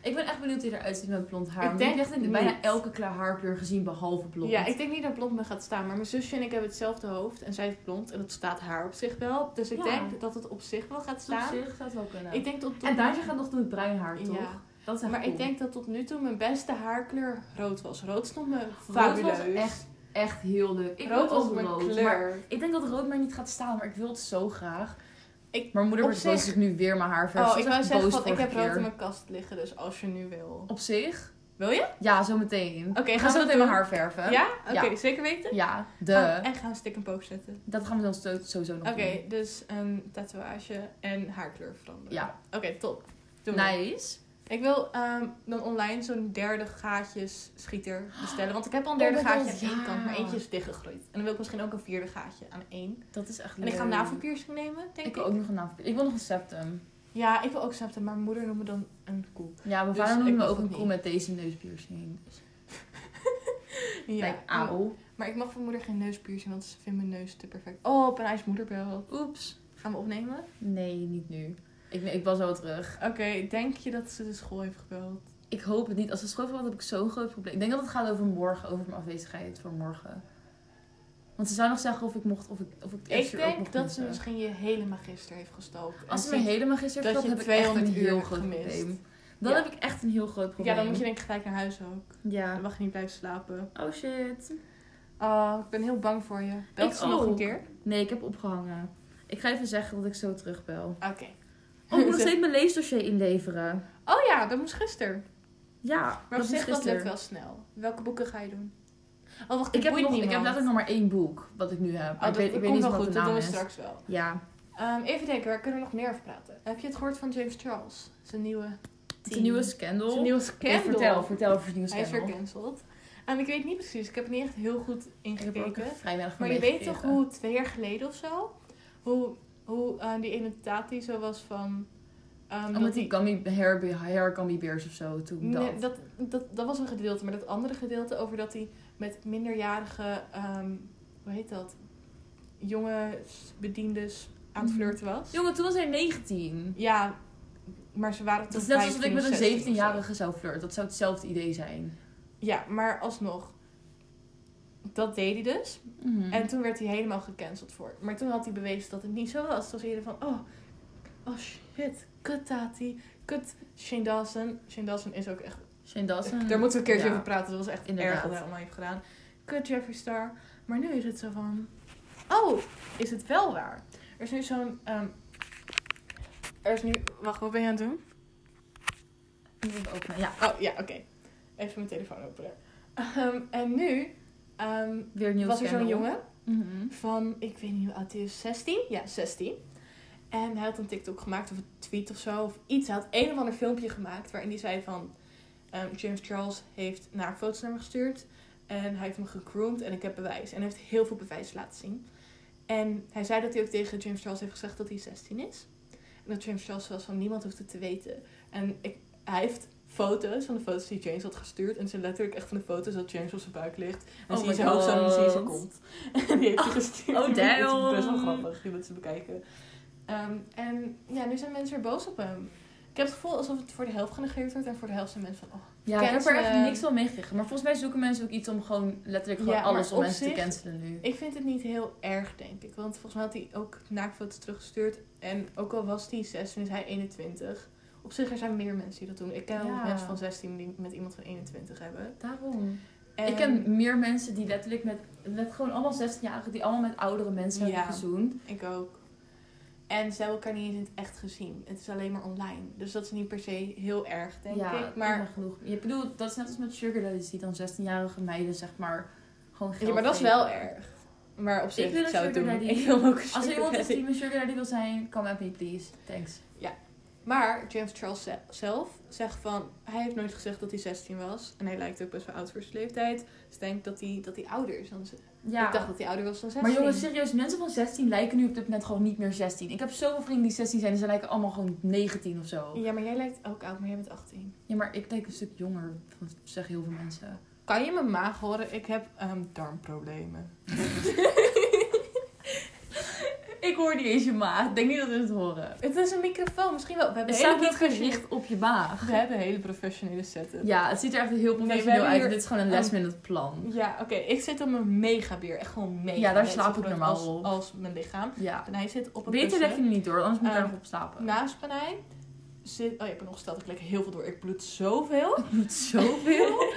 Ik ben echt benieuwd hoe je eruit ziet met blond haar.
Ik
want Ik
denk
heb echt in
niet.
bijna elke klaar haarkleur gezien, behalve blond.
Ja, ik denk niet dat blond me gaat staan. Maar mijn zusje en ik hebben hetzelfde hoofd. En zij heeft blond. En het staat haar op zich wel. Dus ik
Ja.
denk dat het op zich wel gaat
Op
staan.
zich zou het wel kunnen.
Ik denk dat tot
En Daisje gaat nog doen met bruin haar, toch?
Ja.
Dat is echt
Maar
cool.
ik denk dat tot nu toe mijn beste haarkleur rood was. Rood stond me
Rood
fabuleus.
was echt, echt heel leuk. Ik
rood
wil
was
ook
mijn
rood, maar
kleur. Oh,
Ik denk dat rood maar niet gaat staan, maar ik wil het zo graag.
Ik-
maar mijn moeder
op
wordt boos
zich-
dat ik nu weer mijn haar verf.
oh, ik wou zeggen, van, ik heb rood in
mijn...
mijn kast liggen. Dus als je nu wil.
Op zich,
Wil je?
Ja, zometeen.
Oké,
ik ga
gaan
zo
we
meteen
doen?
mijn haar verven.
Ja? Oké,
Ja.
zeker weten?
Ja, de.
Oh, en gaan we stick een pook zetten.
Dat gaan we dan sto- sowieso nog
Oké,
doen.
dus een tatoeage en haarkleur veranderen.
Ja.
Oké, top. Doen we.
Nice.
Ik wil ehm, dan online zo'n derde gaatjes schieter bestellen. Want ik heb al een
Oh
derde
my
gaatje
God,
aan één
ja.
kant, maar eentje is dichtgegroeid. En dan wil ik misschien ook een vierde gaatje aan één.
Dat is echt
En ik ga een
leuk.
navelpiercing nemen, denk
Ik
ik.
wil ook nog een navelpiercing. Ik wil nog een septum.
Ja, ik wil ook septum, maar mijn moeder noemde dan een koe.
Ja, mijn
Dus
vader
ik
noemde me
mag
ook
dat
een
niet.
koe met deze neuspiercing.
Ja.
Like, auw.
Maar ik mag van moeder geen neuspiercing, want ze vindt mijn neus te perfect. Oh, op een moeder belt.
Oeps.
Gaan we opnemen?
Nee, niet nu. Ik, ik was wel terug.
Oké, denk je dat ze de school heeft gebeld?
Ik hoop het niet. Als ze schoolverband heb ik zo'n groot probleem. Ik denk dat het gaat over morgen, over mijn afwezigheid voor morgen. Want ze zou nog zeggen of ik mocht, of ik, of ik het
Ik
eerste uur ook
denk
mocht
dat
missen.
ze misschien je hele magister heeft gestoken.
Als ze
En
me
ziet-
helemaal gisteren
dat
verteld, heb
je
ik echt een
200 uur
heel
hebt
groot
gemist.
probleem. Dan
Ja.
heb ik echt een heel groot probleem.
Ja, dan moet je denk ik gelijk naar huis ook. Dan
Ja.
mag je niet blijven slapen.
Oh shit.
Oh, ik ben heel bang voor je. Belt
Ik
ze nog een
ook.
keer?
Nee, ik heb opgehangen. Ik ga even zeggen dat ik zo terugbel.
Oké.
(laughs)
(laughs)
Oh, ik moet nog steeds mijn leesdossier inleveren.
Oh ja, dat moest gisteren.
Ja,
Maar op
dat is
zich, dat lukt
gisteren.
wel snel. Welke boeken ga je doen? Oh, wacht,
Ik heb, nog, ik heb
niemand.
letterlijk nog maar één boek wat ik nu heb.
Oh,
Maar ik
dat
weet, ik weet
komt
niet
wel
wat de
goed, dat
naam
doen we
is.
straks wel.
Ja,
Ehm, even denken, waar kunnen we nog meer over praten? Heb je het gehoord van James Charles? Zijn nieuwe
de nieuwe scandal.
Zijn nieuwe
Oké,
scandal.
vertel, vertel over de nieuwe
Hij is
scandal.
weer cancelled. En ik weet niet precies, ik heb er niet echt heel goed in
ik heb er ook
gekeken.
vrij weinig van
Maar je weet toch
meegekregen.
hoe twee jaar geleden of zo, hoe, hoe eh, die ene taat die zo was van. ehm,
Oh,
dat
met
die-
die gummy, hair, hair gummy bears of zo. Toen dat.
Nee, dat, dat, dat was een gedeelte, maar dat andere gedeelte over dat hij met minderjarige, ehm, hoe heet dat? Jonge bediendes aan het
Mhm.
flirten was.
Jongen, toen was hij 19.
Ja, maar ze waren
Dat
toen.
is net alsof
15
ik met
of 16
een
of zo.
17-jarige zou flirten. Dat zou hetzelfde idee zijn.
Ja, maar alsnog. Dat deed hij dus.
Mhm.
En toen werd hij helemaal gecanceld voor. Maar toen had hij bewezen dat het niet zo was. Toen was iedereen van, oh, oh shit, kut Tati, kut Shane Dawson. Shane Dawson is ook echt...
Shane Dawson.
Daar moeten we een keertje
ja.
over praten. Dat was echt
Inderdaad.
erg wat hij allemaal heeft gedaan. Kut Jeffree Star. Maar nu is het zo van, oh, is het wel waar? Er is nu zo'n... ehm, er is nu... Wacht, wat ben je aan het doen?
Die moet ik openen. Ja,
Oh, ja, oké. Even mijn telefoon openen. Ehm, en nu ehm,
weer een nieuw
was er zo'n
scandal.
jongen
Mhm.
van, ik weet niet hoe oud hij is, 16? Ja, 16. En hij had een TikTok gemaakt of een tweet of zo, of iets. Hij had een of ander filmpje gemaakt waarin hij zei van... ehm, James Charles heeft naar foto's naar me gestuurd. En hij heeft me gegroomd en ik heb bewijs. En hij heeft heel veel bewijs laten zien. En hij zei dat hij ook tegen James Charles heeft gezegd dat hij 16 is. En dat James Charles was van niemand hoeft het te weten. En ik, hij heeft foto's van de foto's die James had gestuurd. En het zijn letterlijk echt van de foto's dat James op zijn buik ligt. En
Oh
zie je
my
zijn hoofd zo en dan zie je zijn
God.
kont. En (laughs) die heeft hij gestuurd.
oh,
Die moet- Het is
damn.
best wel grappig, je moet ze bekijken. Ehm, en ja, nu zijn mensen weer boos op hem. Ik heb het gevoel alsof het voor de helft genegeerd wordt en voor de helft zijn mensen van... Oh,
Ja, ik heb er
Cancelen.
echt niks van meegekregen. Maar volgens mij zoeken mensen ook iets om gewoon letterlijk gewoon
Ja, maar
alles om
op
mensen
zich-
te cancelen nu.
ik vind het niet heel erg, denk ik. Want volgens mij had hij ook naaktfoto's teruggestuurd. En ook al was hij 16, is hij 21. Op zich, er zijn meer mensen die dat doen. Ik ken ook
Ja.
mensen van 16 die met iemand van 21 hebben.
Daarom.
En-
Ik ken meer mensen die letterlijk met, met gewoon allemaal 16-jarigen, die allemaal met oudere mensen
Ja.
hebben gezoend.
Ik ook. En ze hebben elkaar niet eens in het echt gezien. Het is alleen maar online. Dus dat is niet per se heel erg, denk
ja,
ik. Maar
dat is genoeg. Je bedoelt, dat is net als met Sugar Daddies, die dan 16-jarige meiden zeg maar gewoon geld
Ja, maar dat is
geven.
wel erg. Maar op zich
wil een
zou ik
sugar
doen.
daddy.
(laughs) Ik wil ook een
Als er
sugar
iemand is
daddy.
die mijn Sugar Daddy wil zijn, come at me please. Thanks.
Maar James Charles ze- zelf zegt van... Hij heeft nooit gezegd dat hij 16 was. En hij lijkt ook best wel oud voor zijn leeftijd. Dus ik denk dat hij, dat hij ouder is dan ze.
Ja.
Ik dacht dat hij ouder was dan 16.
Maar jongens, serieus, mensen van 16 lijken nu op dit moment gewoon niet meer 16. Ik heb zoveel vrienden die 16 zijn en ze lijken allemaal gewoon 19 of zo.
Ja, maar jij lijkt ook oud, maar jij bent 18.
Ja, maar ik denk een stuk jonger, van- zeggen heel veel mensen.
Kan je mijn maag horen? Ik heb ehm, darmproblemen.
Ik hoor niet eens je maag. Ik denk niet dat we het horen.
Het is een microfoon. Misschien wel. We hebben,
Het
hele,
staat niet
professionele-
gericht op je maag.
we hebben hele professionele setup.
Ja, het ziet er echt heel
we
professioneel
hebben
uit.
hier-
Dit is gewoon een
Oh.
last minute plan.
Ja, oké. Ik zit op een megabier. Echt gewoon mega.
Ja, daar
net zo
slaap ik
groot
normaal
als,
op.
Als mijn lichaam.
Ja.
En hij zit op een
Beter
kussen.
dat je hem niet door, anders moet je
Ehm,
daar nog op slapen.
Naast mij zit. Oh, je hebt me nog gesteld. Ik lek heel veel door. Ik bloed zoveel.
Ik moet (laughs) zoveel.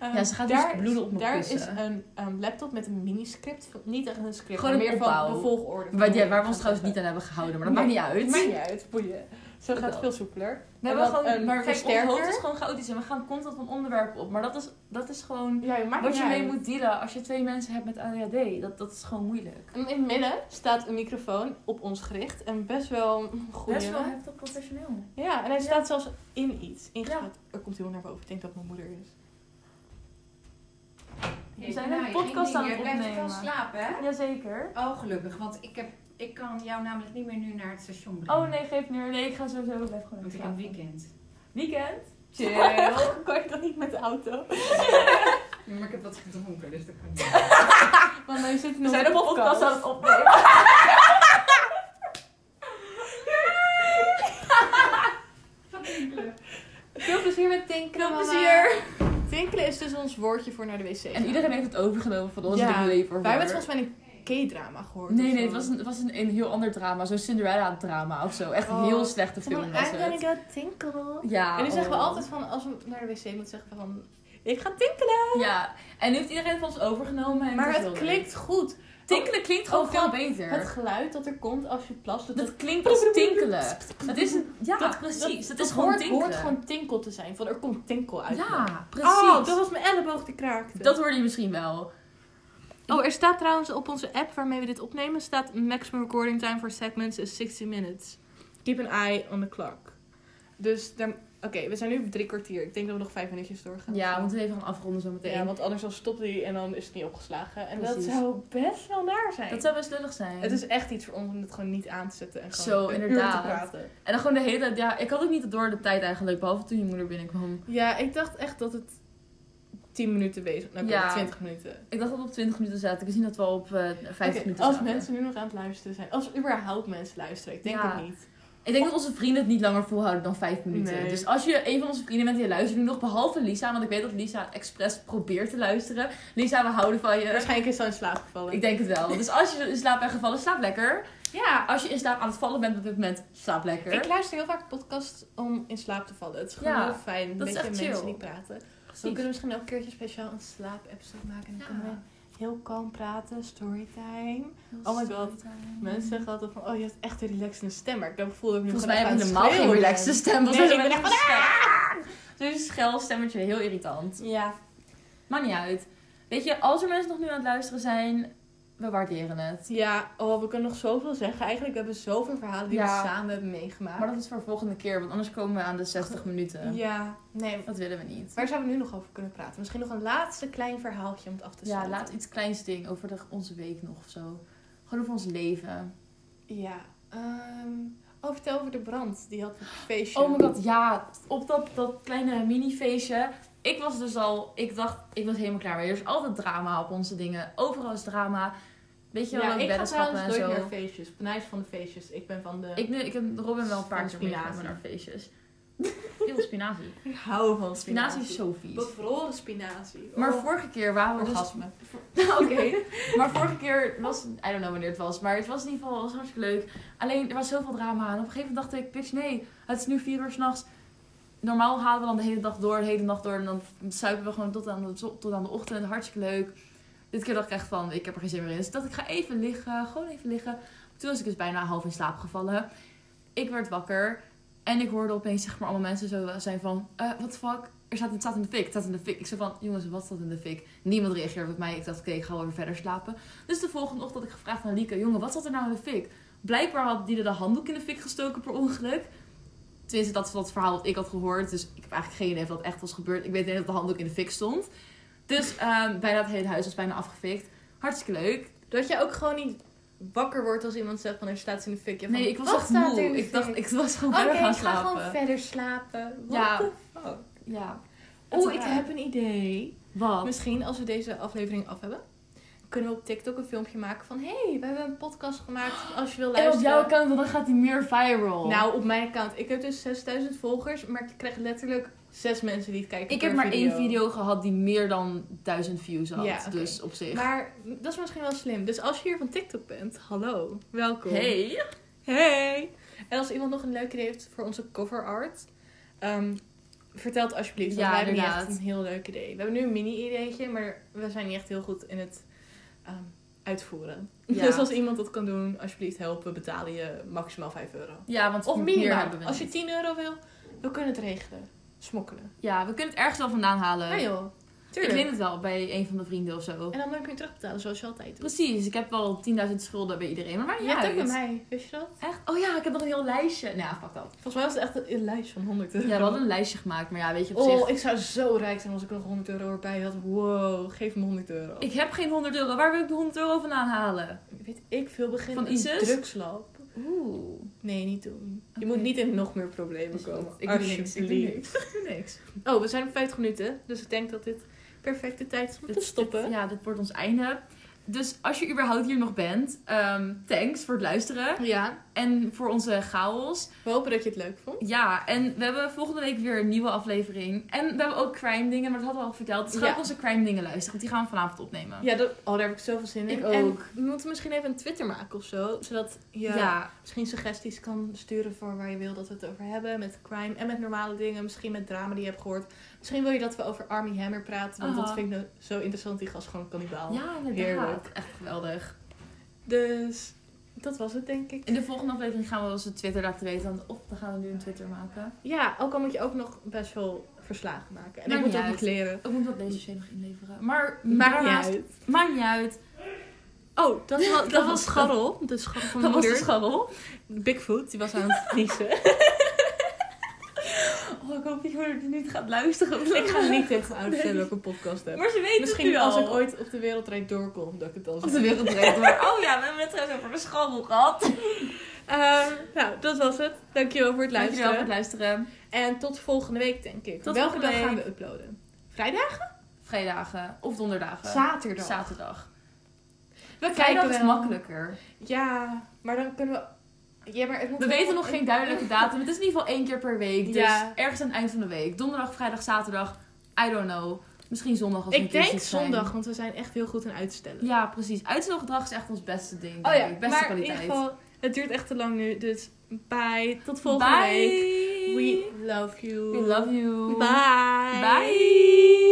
Ehm,
Ja, ze gaat dus bloeden op mijn
Daar
kussen.
is een ehm, laptop met een mini-script. van- Niet echt een script,
Gewoon
maar
een
meer
opbouw.
van de volgorde. van
Waar,
hoe
ja,
je
waar we
gaat
ons trouwens niet
zeggen.
aan hebben gehouden, maar dat
Nee,
maakt niet uit.
Maakt niet uit, boeien. Zo gaat het
wel.
veel soepeler.
We
En
hebben
dan
gewoon,
een
maar kijk, ons
versterker.
hoofd is gewoon chaotisch en we gaan constant van onderwerpen op. Maar dat is, dat is gewoon
Ja, maakt
wat
niet
je mee
uit.
moet dealen als je twee mensen hebt met ADHD. Dat, dat is gewoon moeilijk.
En in het midden staat een microfoon op ons gericht. En best wel goed.
Best wel heftig professioneel.
Ja, en hij
Ja.
staat zelfs in iets. In
Ja.
Er komt iemand naar boven. Ik denk dat het mijn moeder
(laughs)
is.
We zijn een podcast aan het
Je blijft
opnemen.
van slapen, hè?
Jazeker.
Oh, gelukkig, want ik, heb, ik kan jou namelijk niet meer nu naar het station brengen.
Oh nee, geef nu. Nee, ik ga sowieso blijf gewoon
Want ik
slapen.
heb weekend.
Weekend?
(laughs)
Chill. kan ik dat niet met de auto?
Maar ik heb wat gedronken, dus dat kan niet.
Want wij zitten
We
nog
zijn een podcast aan het opnemen.
Veel plezier met tinkelen.
Veel
mama.
plezier.
Tinkelen is dus ons woordje voor naar de wc.
En iedereen heeft het overgenomen van ons.
Ja,
Ja, wij hebben
Wij hebben het volgens mij in een K-drama gehoord.
Nee,
of
nee,
zo.
het was een, het was een, een heel ander drama. Zo'n Cinderella-drama of zo. Echt een
Oh,
heel slechte
Van,
film
I'm
was het.
gonna go tinkle.
Ja.
en nu zeggen we
oh.
altijd van, als we naar de wc moeten zeggen we van, ik ga tinkelen.
Ja, en nu heeft iedereen van ons overgenomen. En
Maar
is
het
heel leuk.
klinkt goed.
Tinkelen klinkt gewoon
Oh,
veel
van-
beter.
Het geluid dat er komt als je plast, dat,
dat klinkt als tinkelen. Dat is een, ja,
dat-
precies. Dat, is
dat
gewoon
hoort,
tinkelen.
hoort gewoon tinkel te zijn. Van, er komt tinkel uit. me.
ja, precies.
Oh, dat
dat,
was mijn elleboog die kraakte.
hoorde je misschien wel.
Oh, er staat trouwens op onze app waarmee we dit opnemen, staat maximum recording time for segments is 60 minutes. Keep an eye on the clock. Dus, daar- oké, we zijn nu op drie kwartier. Ik denk dat we nog vijf minuutjes doorgaan.
Ja, we moeten even gaan afronden zo meteen.
Ja, want anders dan stopt hij en dan is het niet opgeslagen. En
Precies.
dat zou best wel naar zijn.
Dat zou best lullig zijn.
Het is echt iets voor ons om het gewoon niet aan te zetten en gewoon
Zo,
een
inderdaad.
uur te praten.
En dan gewoon de hele tijd... Ja, ik had ook niet door de tijd eigenlijk, behalve toen je moeder binnenkwam.
Ja, ik dacht echt dat het 10 minuten bezig Nou,
Ja.
ja. 20 minuten.
Ik dacht dat we op 20 minuten zaten. Ik zie dat we al op eh 50
Oké,
minuten
als
zaten.
mensen nu nog aan het luisteren zijn. Als überhaupt mensen luisteren. Ik denk
Ja.
het niet.
Ik denk dat onze vrienden het niet langer volhouden dan 5 minuten.
Nee.
Dus als je een van onze vrienden bent die luistert, nu nog behalve Lisa, want ik weet dat Lisa expres probeert te luisteren. Lisa, we houden van je.
Waarschijnlijk is ze al in slaap gevallen.
Ik denk het wel. Dus als je in slaap bent gevallen, slaap lekker.
ja.
Als je in slaap aan het vallen bent op dit moment, slaap lekker.
Ik luister heel vaak podcasts om in slaap te vallen. Het is gewoon
Ja,
heel fijn. Een
dat is
beetje
echt
mensen
chill.
die praten. We
Precies.
kunnen misschien ook een keertje speciaal een slaap-episode maken. En
Ja.
dan kunnen we heel kalm praten. Storytime. Oh my god.
Mhm.
Mensen zeggen altijd van, oh je hebt echt een relaxende stem. Maar ik heb het gevoel dat ik nu
Volgens mij
gewoon
hebben we
echt
helemaal
aan
geen
het
relaxte
schreeuwen
stem.
Nee,
Volgens mij
ik
zijn
ben
we echt Zo'n schel stemmetje, heel irritant.
ben. Ja.
Maakt niet uit. Weet je, als er mensen nog nu aan het luisteren zijn, we waarderen het.
Ja, oh, we kunnen nog zoveel zeggen. Eigenlijk hebben we zoveel verhalen die
Ja.
we samen hebben meegemaakt.
Maar dat is voor volgende keer, want anders komen we aan de 60 minuten.
Ja, nee.
Dat willen we niet.
Waar zouden we nu nog over kunnen praten? Misschien nog een laatste klein verhaaltje om het af te
Ja,
sluiten.
laat iets kleins ding over de, onze week nog of zo. Gewoon over ons leven.
Ja. ehm, oh, vertel over de brand. Die had een feestje.
Oh my god, ja. Op dat, dat kleine mini-feestje. Ik was dus al... Ik dacht, ik was helemaal klaar mee. Er is altijd drama op onze dingen. Overal is drama. Weet je wel,
Ja,
ook
ik ga
weddenschappen
trouwens
en
nooit
zo.
naar feestjes. Benai is van de feestjes. Ik ben van de...
Ik, nu, ik heb Robin wel een paar
Van
keer
spinazie.
meegenomen naar
(laughs)
feestjes. Heel spinazie.
Ik hou van
Spinazie is zo vies.
Bevroren spinazie.
Maar
Oh,
vorige keer waren we dus
Orgasme. (laughs)
Oké. Maar vorige keer was, I don't know wanneer het was, maar het was in ieder geval was hartstikke leuk. Alleen er was zoveel drama en op een gegeven moment dacht ik, Pix, nee, het is nu vier uur s'nachts. Normaal halen we dan de hele dag door, de hele nacht door en dan suipen we gewoon tot aan de, zo- tot aan de ochtend. Hartstikke leuk. Dit keer dacht ik echt van, ik heb er geen zin meer in. Dus ik dacht, ik ga even liggen, gewoon even liggen. Toen was ik dus bijna half in slaap gevallen. Ik werd wakker en ik hoorde opeens zeg maar allemaal mensen zo zijn van, eh what the fuck? Er staat, het staat in de fik, het staat in de fik. Ik zei van, jongens, wat staat in de fik? Niemand reageerde op mij. Ik dacht, oké, ik ga wel weer verder slapen. Dus de volgende ochtend had ik gevraagd aan Lieke, jongen, wat zat er nou in de fik? Blijkbaar had die er de handdoek in de fik gestoken per ongeluk. Tenminste, dat is wat het verhaal dat ik had gehoord. Dus ik heb eigenlijk geen idee of dat echt was gebeurd. Ik weet alleen dat de handdoek in de fik stond. Dus ehm, bijna het hele huis was bijna afgefikt. Hartstikke leuk.
Dat je ook gewoon niet wakker wordt als iemand zegt van er staat ze in de fik. Je
Nee,
van,
ik was
wat
echt
staat er in
moe.
de
Ik dacht,
fik?
ik was gewoon
Oké,
verder gaan
ik ga gewoon
slapen.
verder slapen. What
Ja.
the fuck?
Ja.
Oh, ik
raar.
heb een idee.
Wat?
Misschien als we deze aflevering af hebben, kunnen we op TikTok een filmpje maken van... hey, we hebben een podcast gemaakt als je wil
En op
luisteren.
jouw account, want dan gaat die meer viral.
Nou, op mijn account. Ik heb dus 6000 volgers, maar ik krijg letterlijk zes mensen die het kijken
ik
per
heb maar één video gehad die meer dan 1000 views had.
Ja, oké.
Dus op zich.
Maar dat is misschien wel slim. Dus als je hier van TikTok bent, hallo. Welkom.
Hey.
Hey. En als iemand nog een leuk idee heeft voor onze cover art, ehm, vertel het alsjeblieft. Want
Ja,
wij hebben niet
inderdaad.
echt een heel leuk idee. We hebben nu een mini-ideetje, maar we zijn niet echt heel goed in het ehm, uitvoeren.
Ja.
(laughs) Dus als iemand dat kan doen, alsjeblieft helpen. We betalen je maximaal 5 euro.
Ja, want
Of
meer
minimaal.
hebben we
Als je
niet.
10 euro wil, we kunnen het regelen. Smokkelen.
Ja, we kunnen het ergens wel vandaan halen.
Ja joh.
Eh, ik
Tuurlijk.
leen het wel bij een van mijn vrienden of zo.
En dan kun je terugbetalen zoals je altijd doet.
Precies, ik heb wel 10.000 schulden bij iedereen, maar waar
Je
niet
hebt ook
uit.
bij mij, wist je dat?
Echt? Oh ja, ik heb nog een heel lijstje. Nou, fuck dat.
Volgens mij was het echt een, een lijst van 100
Ja,
euro.
we hadden een lijstje gemaakt, maar ja, weet je op zich.
Oh, ik zou zo rijk zijn als ik nog 100 euro erbij had. Wow, geef me 100 euro.
Ik heb geen 100 euro. Waar wil ik de 100 euro vandaan halen?
weet ik veel begin
Van
een
ISIS?
drugslab.
Oeh.
Nee, niet doen. Je
Oké.
moet niet in nog meer problemen
Is goed.
komen.
Ik doe niks, ik doe
Alsjeblieft.
niks. Ik doe niks.
Oh, we zijn op 50 minuten, dus ik denk dat dit perfecte tijd is om te
Dit-
stoppen.
dit- ja, dit wordt ons einde. Dus als je überhaupt hier nog bent, ehm, thanks voor het luisteren.
Ja,
En voor onze chaos.
we hopen dat je het leuk vond.
Ja, en we hebben volgende week weer een nieuwe aflevering. En we hebben ook crime dingen, maar dat hadden we al verteld. Dus ga
Ja.
ook onze crime dingen luisteren, want die gaan we vanavond opnemen.
Ja, dat, oh, daar heb ik zoveel zin in.
Ik
En
ook.
we moeten misschien even een Twitter maken of zo, zodat je
ja.
misschien suggesties kan sturen voor waar je wil dat we het over hebben. Met crime en met normale dingen, misschien met drama die je hebt gehoord. Misschien wil je dat we over Army Hammer praten, want dat
Aha.
vind ik nou zo interessant. Die gast gewoon een kannibaal.
Ja, inderdaad.
Heerlijk.
Echt geweldig.
Dus dat was het, denk ik.
In de volgende aflevering gaan we onze Twitter laten weten. want Of dan gaan we nu een Twitter maken.
Ja, ook al moet je ook nog best wel verslagen maken. En
Maakt
ik moet
niet
ook
uit.
nog leren.
Ik moet dat deze shit nog inleveren. Maar
Maakt niet
daarnaast-
uit.
Maakt niet uit.
Oh, dat, wa- (laughs) dat,
Dat
was
was-
Scharrel. De scharrel van
Dat
mijn
was de
moeder.
scharrel.
Bigfoot, die was aan het (laughs) niezen.
Oh, ik hoop dat je er niet gaat luisteren.
ik ga niet tegen mijn ouders
Nee.
vertellen dat ik een podcast heb.
Maar ze weten het
Misschien
nu
als
al.
ik ooit op de wereldrijd doorkom, dat ik het dan
Op
zeg.
de wereld reed maar. Oh ja, we hebben het trouwens over de scharrel gehad.
Eh, nou, dat was het. Dankjewel voor het luisteren.
Dankjewel voor het luisteren.
En tot volgende week, denk ik.
Tot
Welke dag
volgende
gaan
week.
we uploaden? Vrijdag?
Vrijdagen of donderdagen.
Zaterdag.
Eh, Zaterdag.
We
Vrijdag
kijken
is
wel.
makkelijker.
Ja, maar dan kunnen we... Ja, maar het moet
We weten nog geen duidelijke datum. Het is in ieder geval één keer per week. Dus
Ja.
ergens aan het eind van de week. Donderdag, vrijdag, zaterdag. I don't know. Misschien zondag als we
Ik
een keer
denk
ziek zijn.
zondag, want we zijn echt heel goed in uitstellen.
Ja, precies. Uitstelgedrag is echt ons beste ding.
Oh
denk
ja,
ik. Beste
maar
kwaliteit.
in ieder geval, het duurt echt te lang nu. Dus bye, tot volgende
Bye.
week. We love you.
We love you.
Bye.
Bye.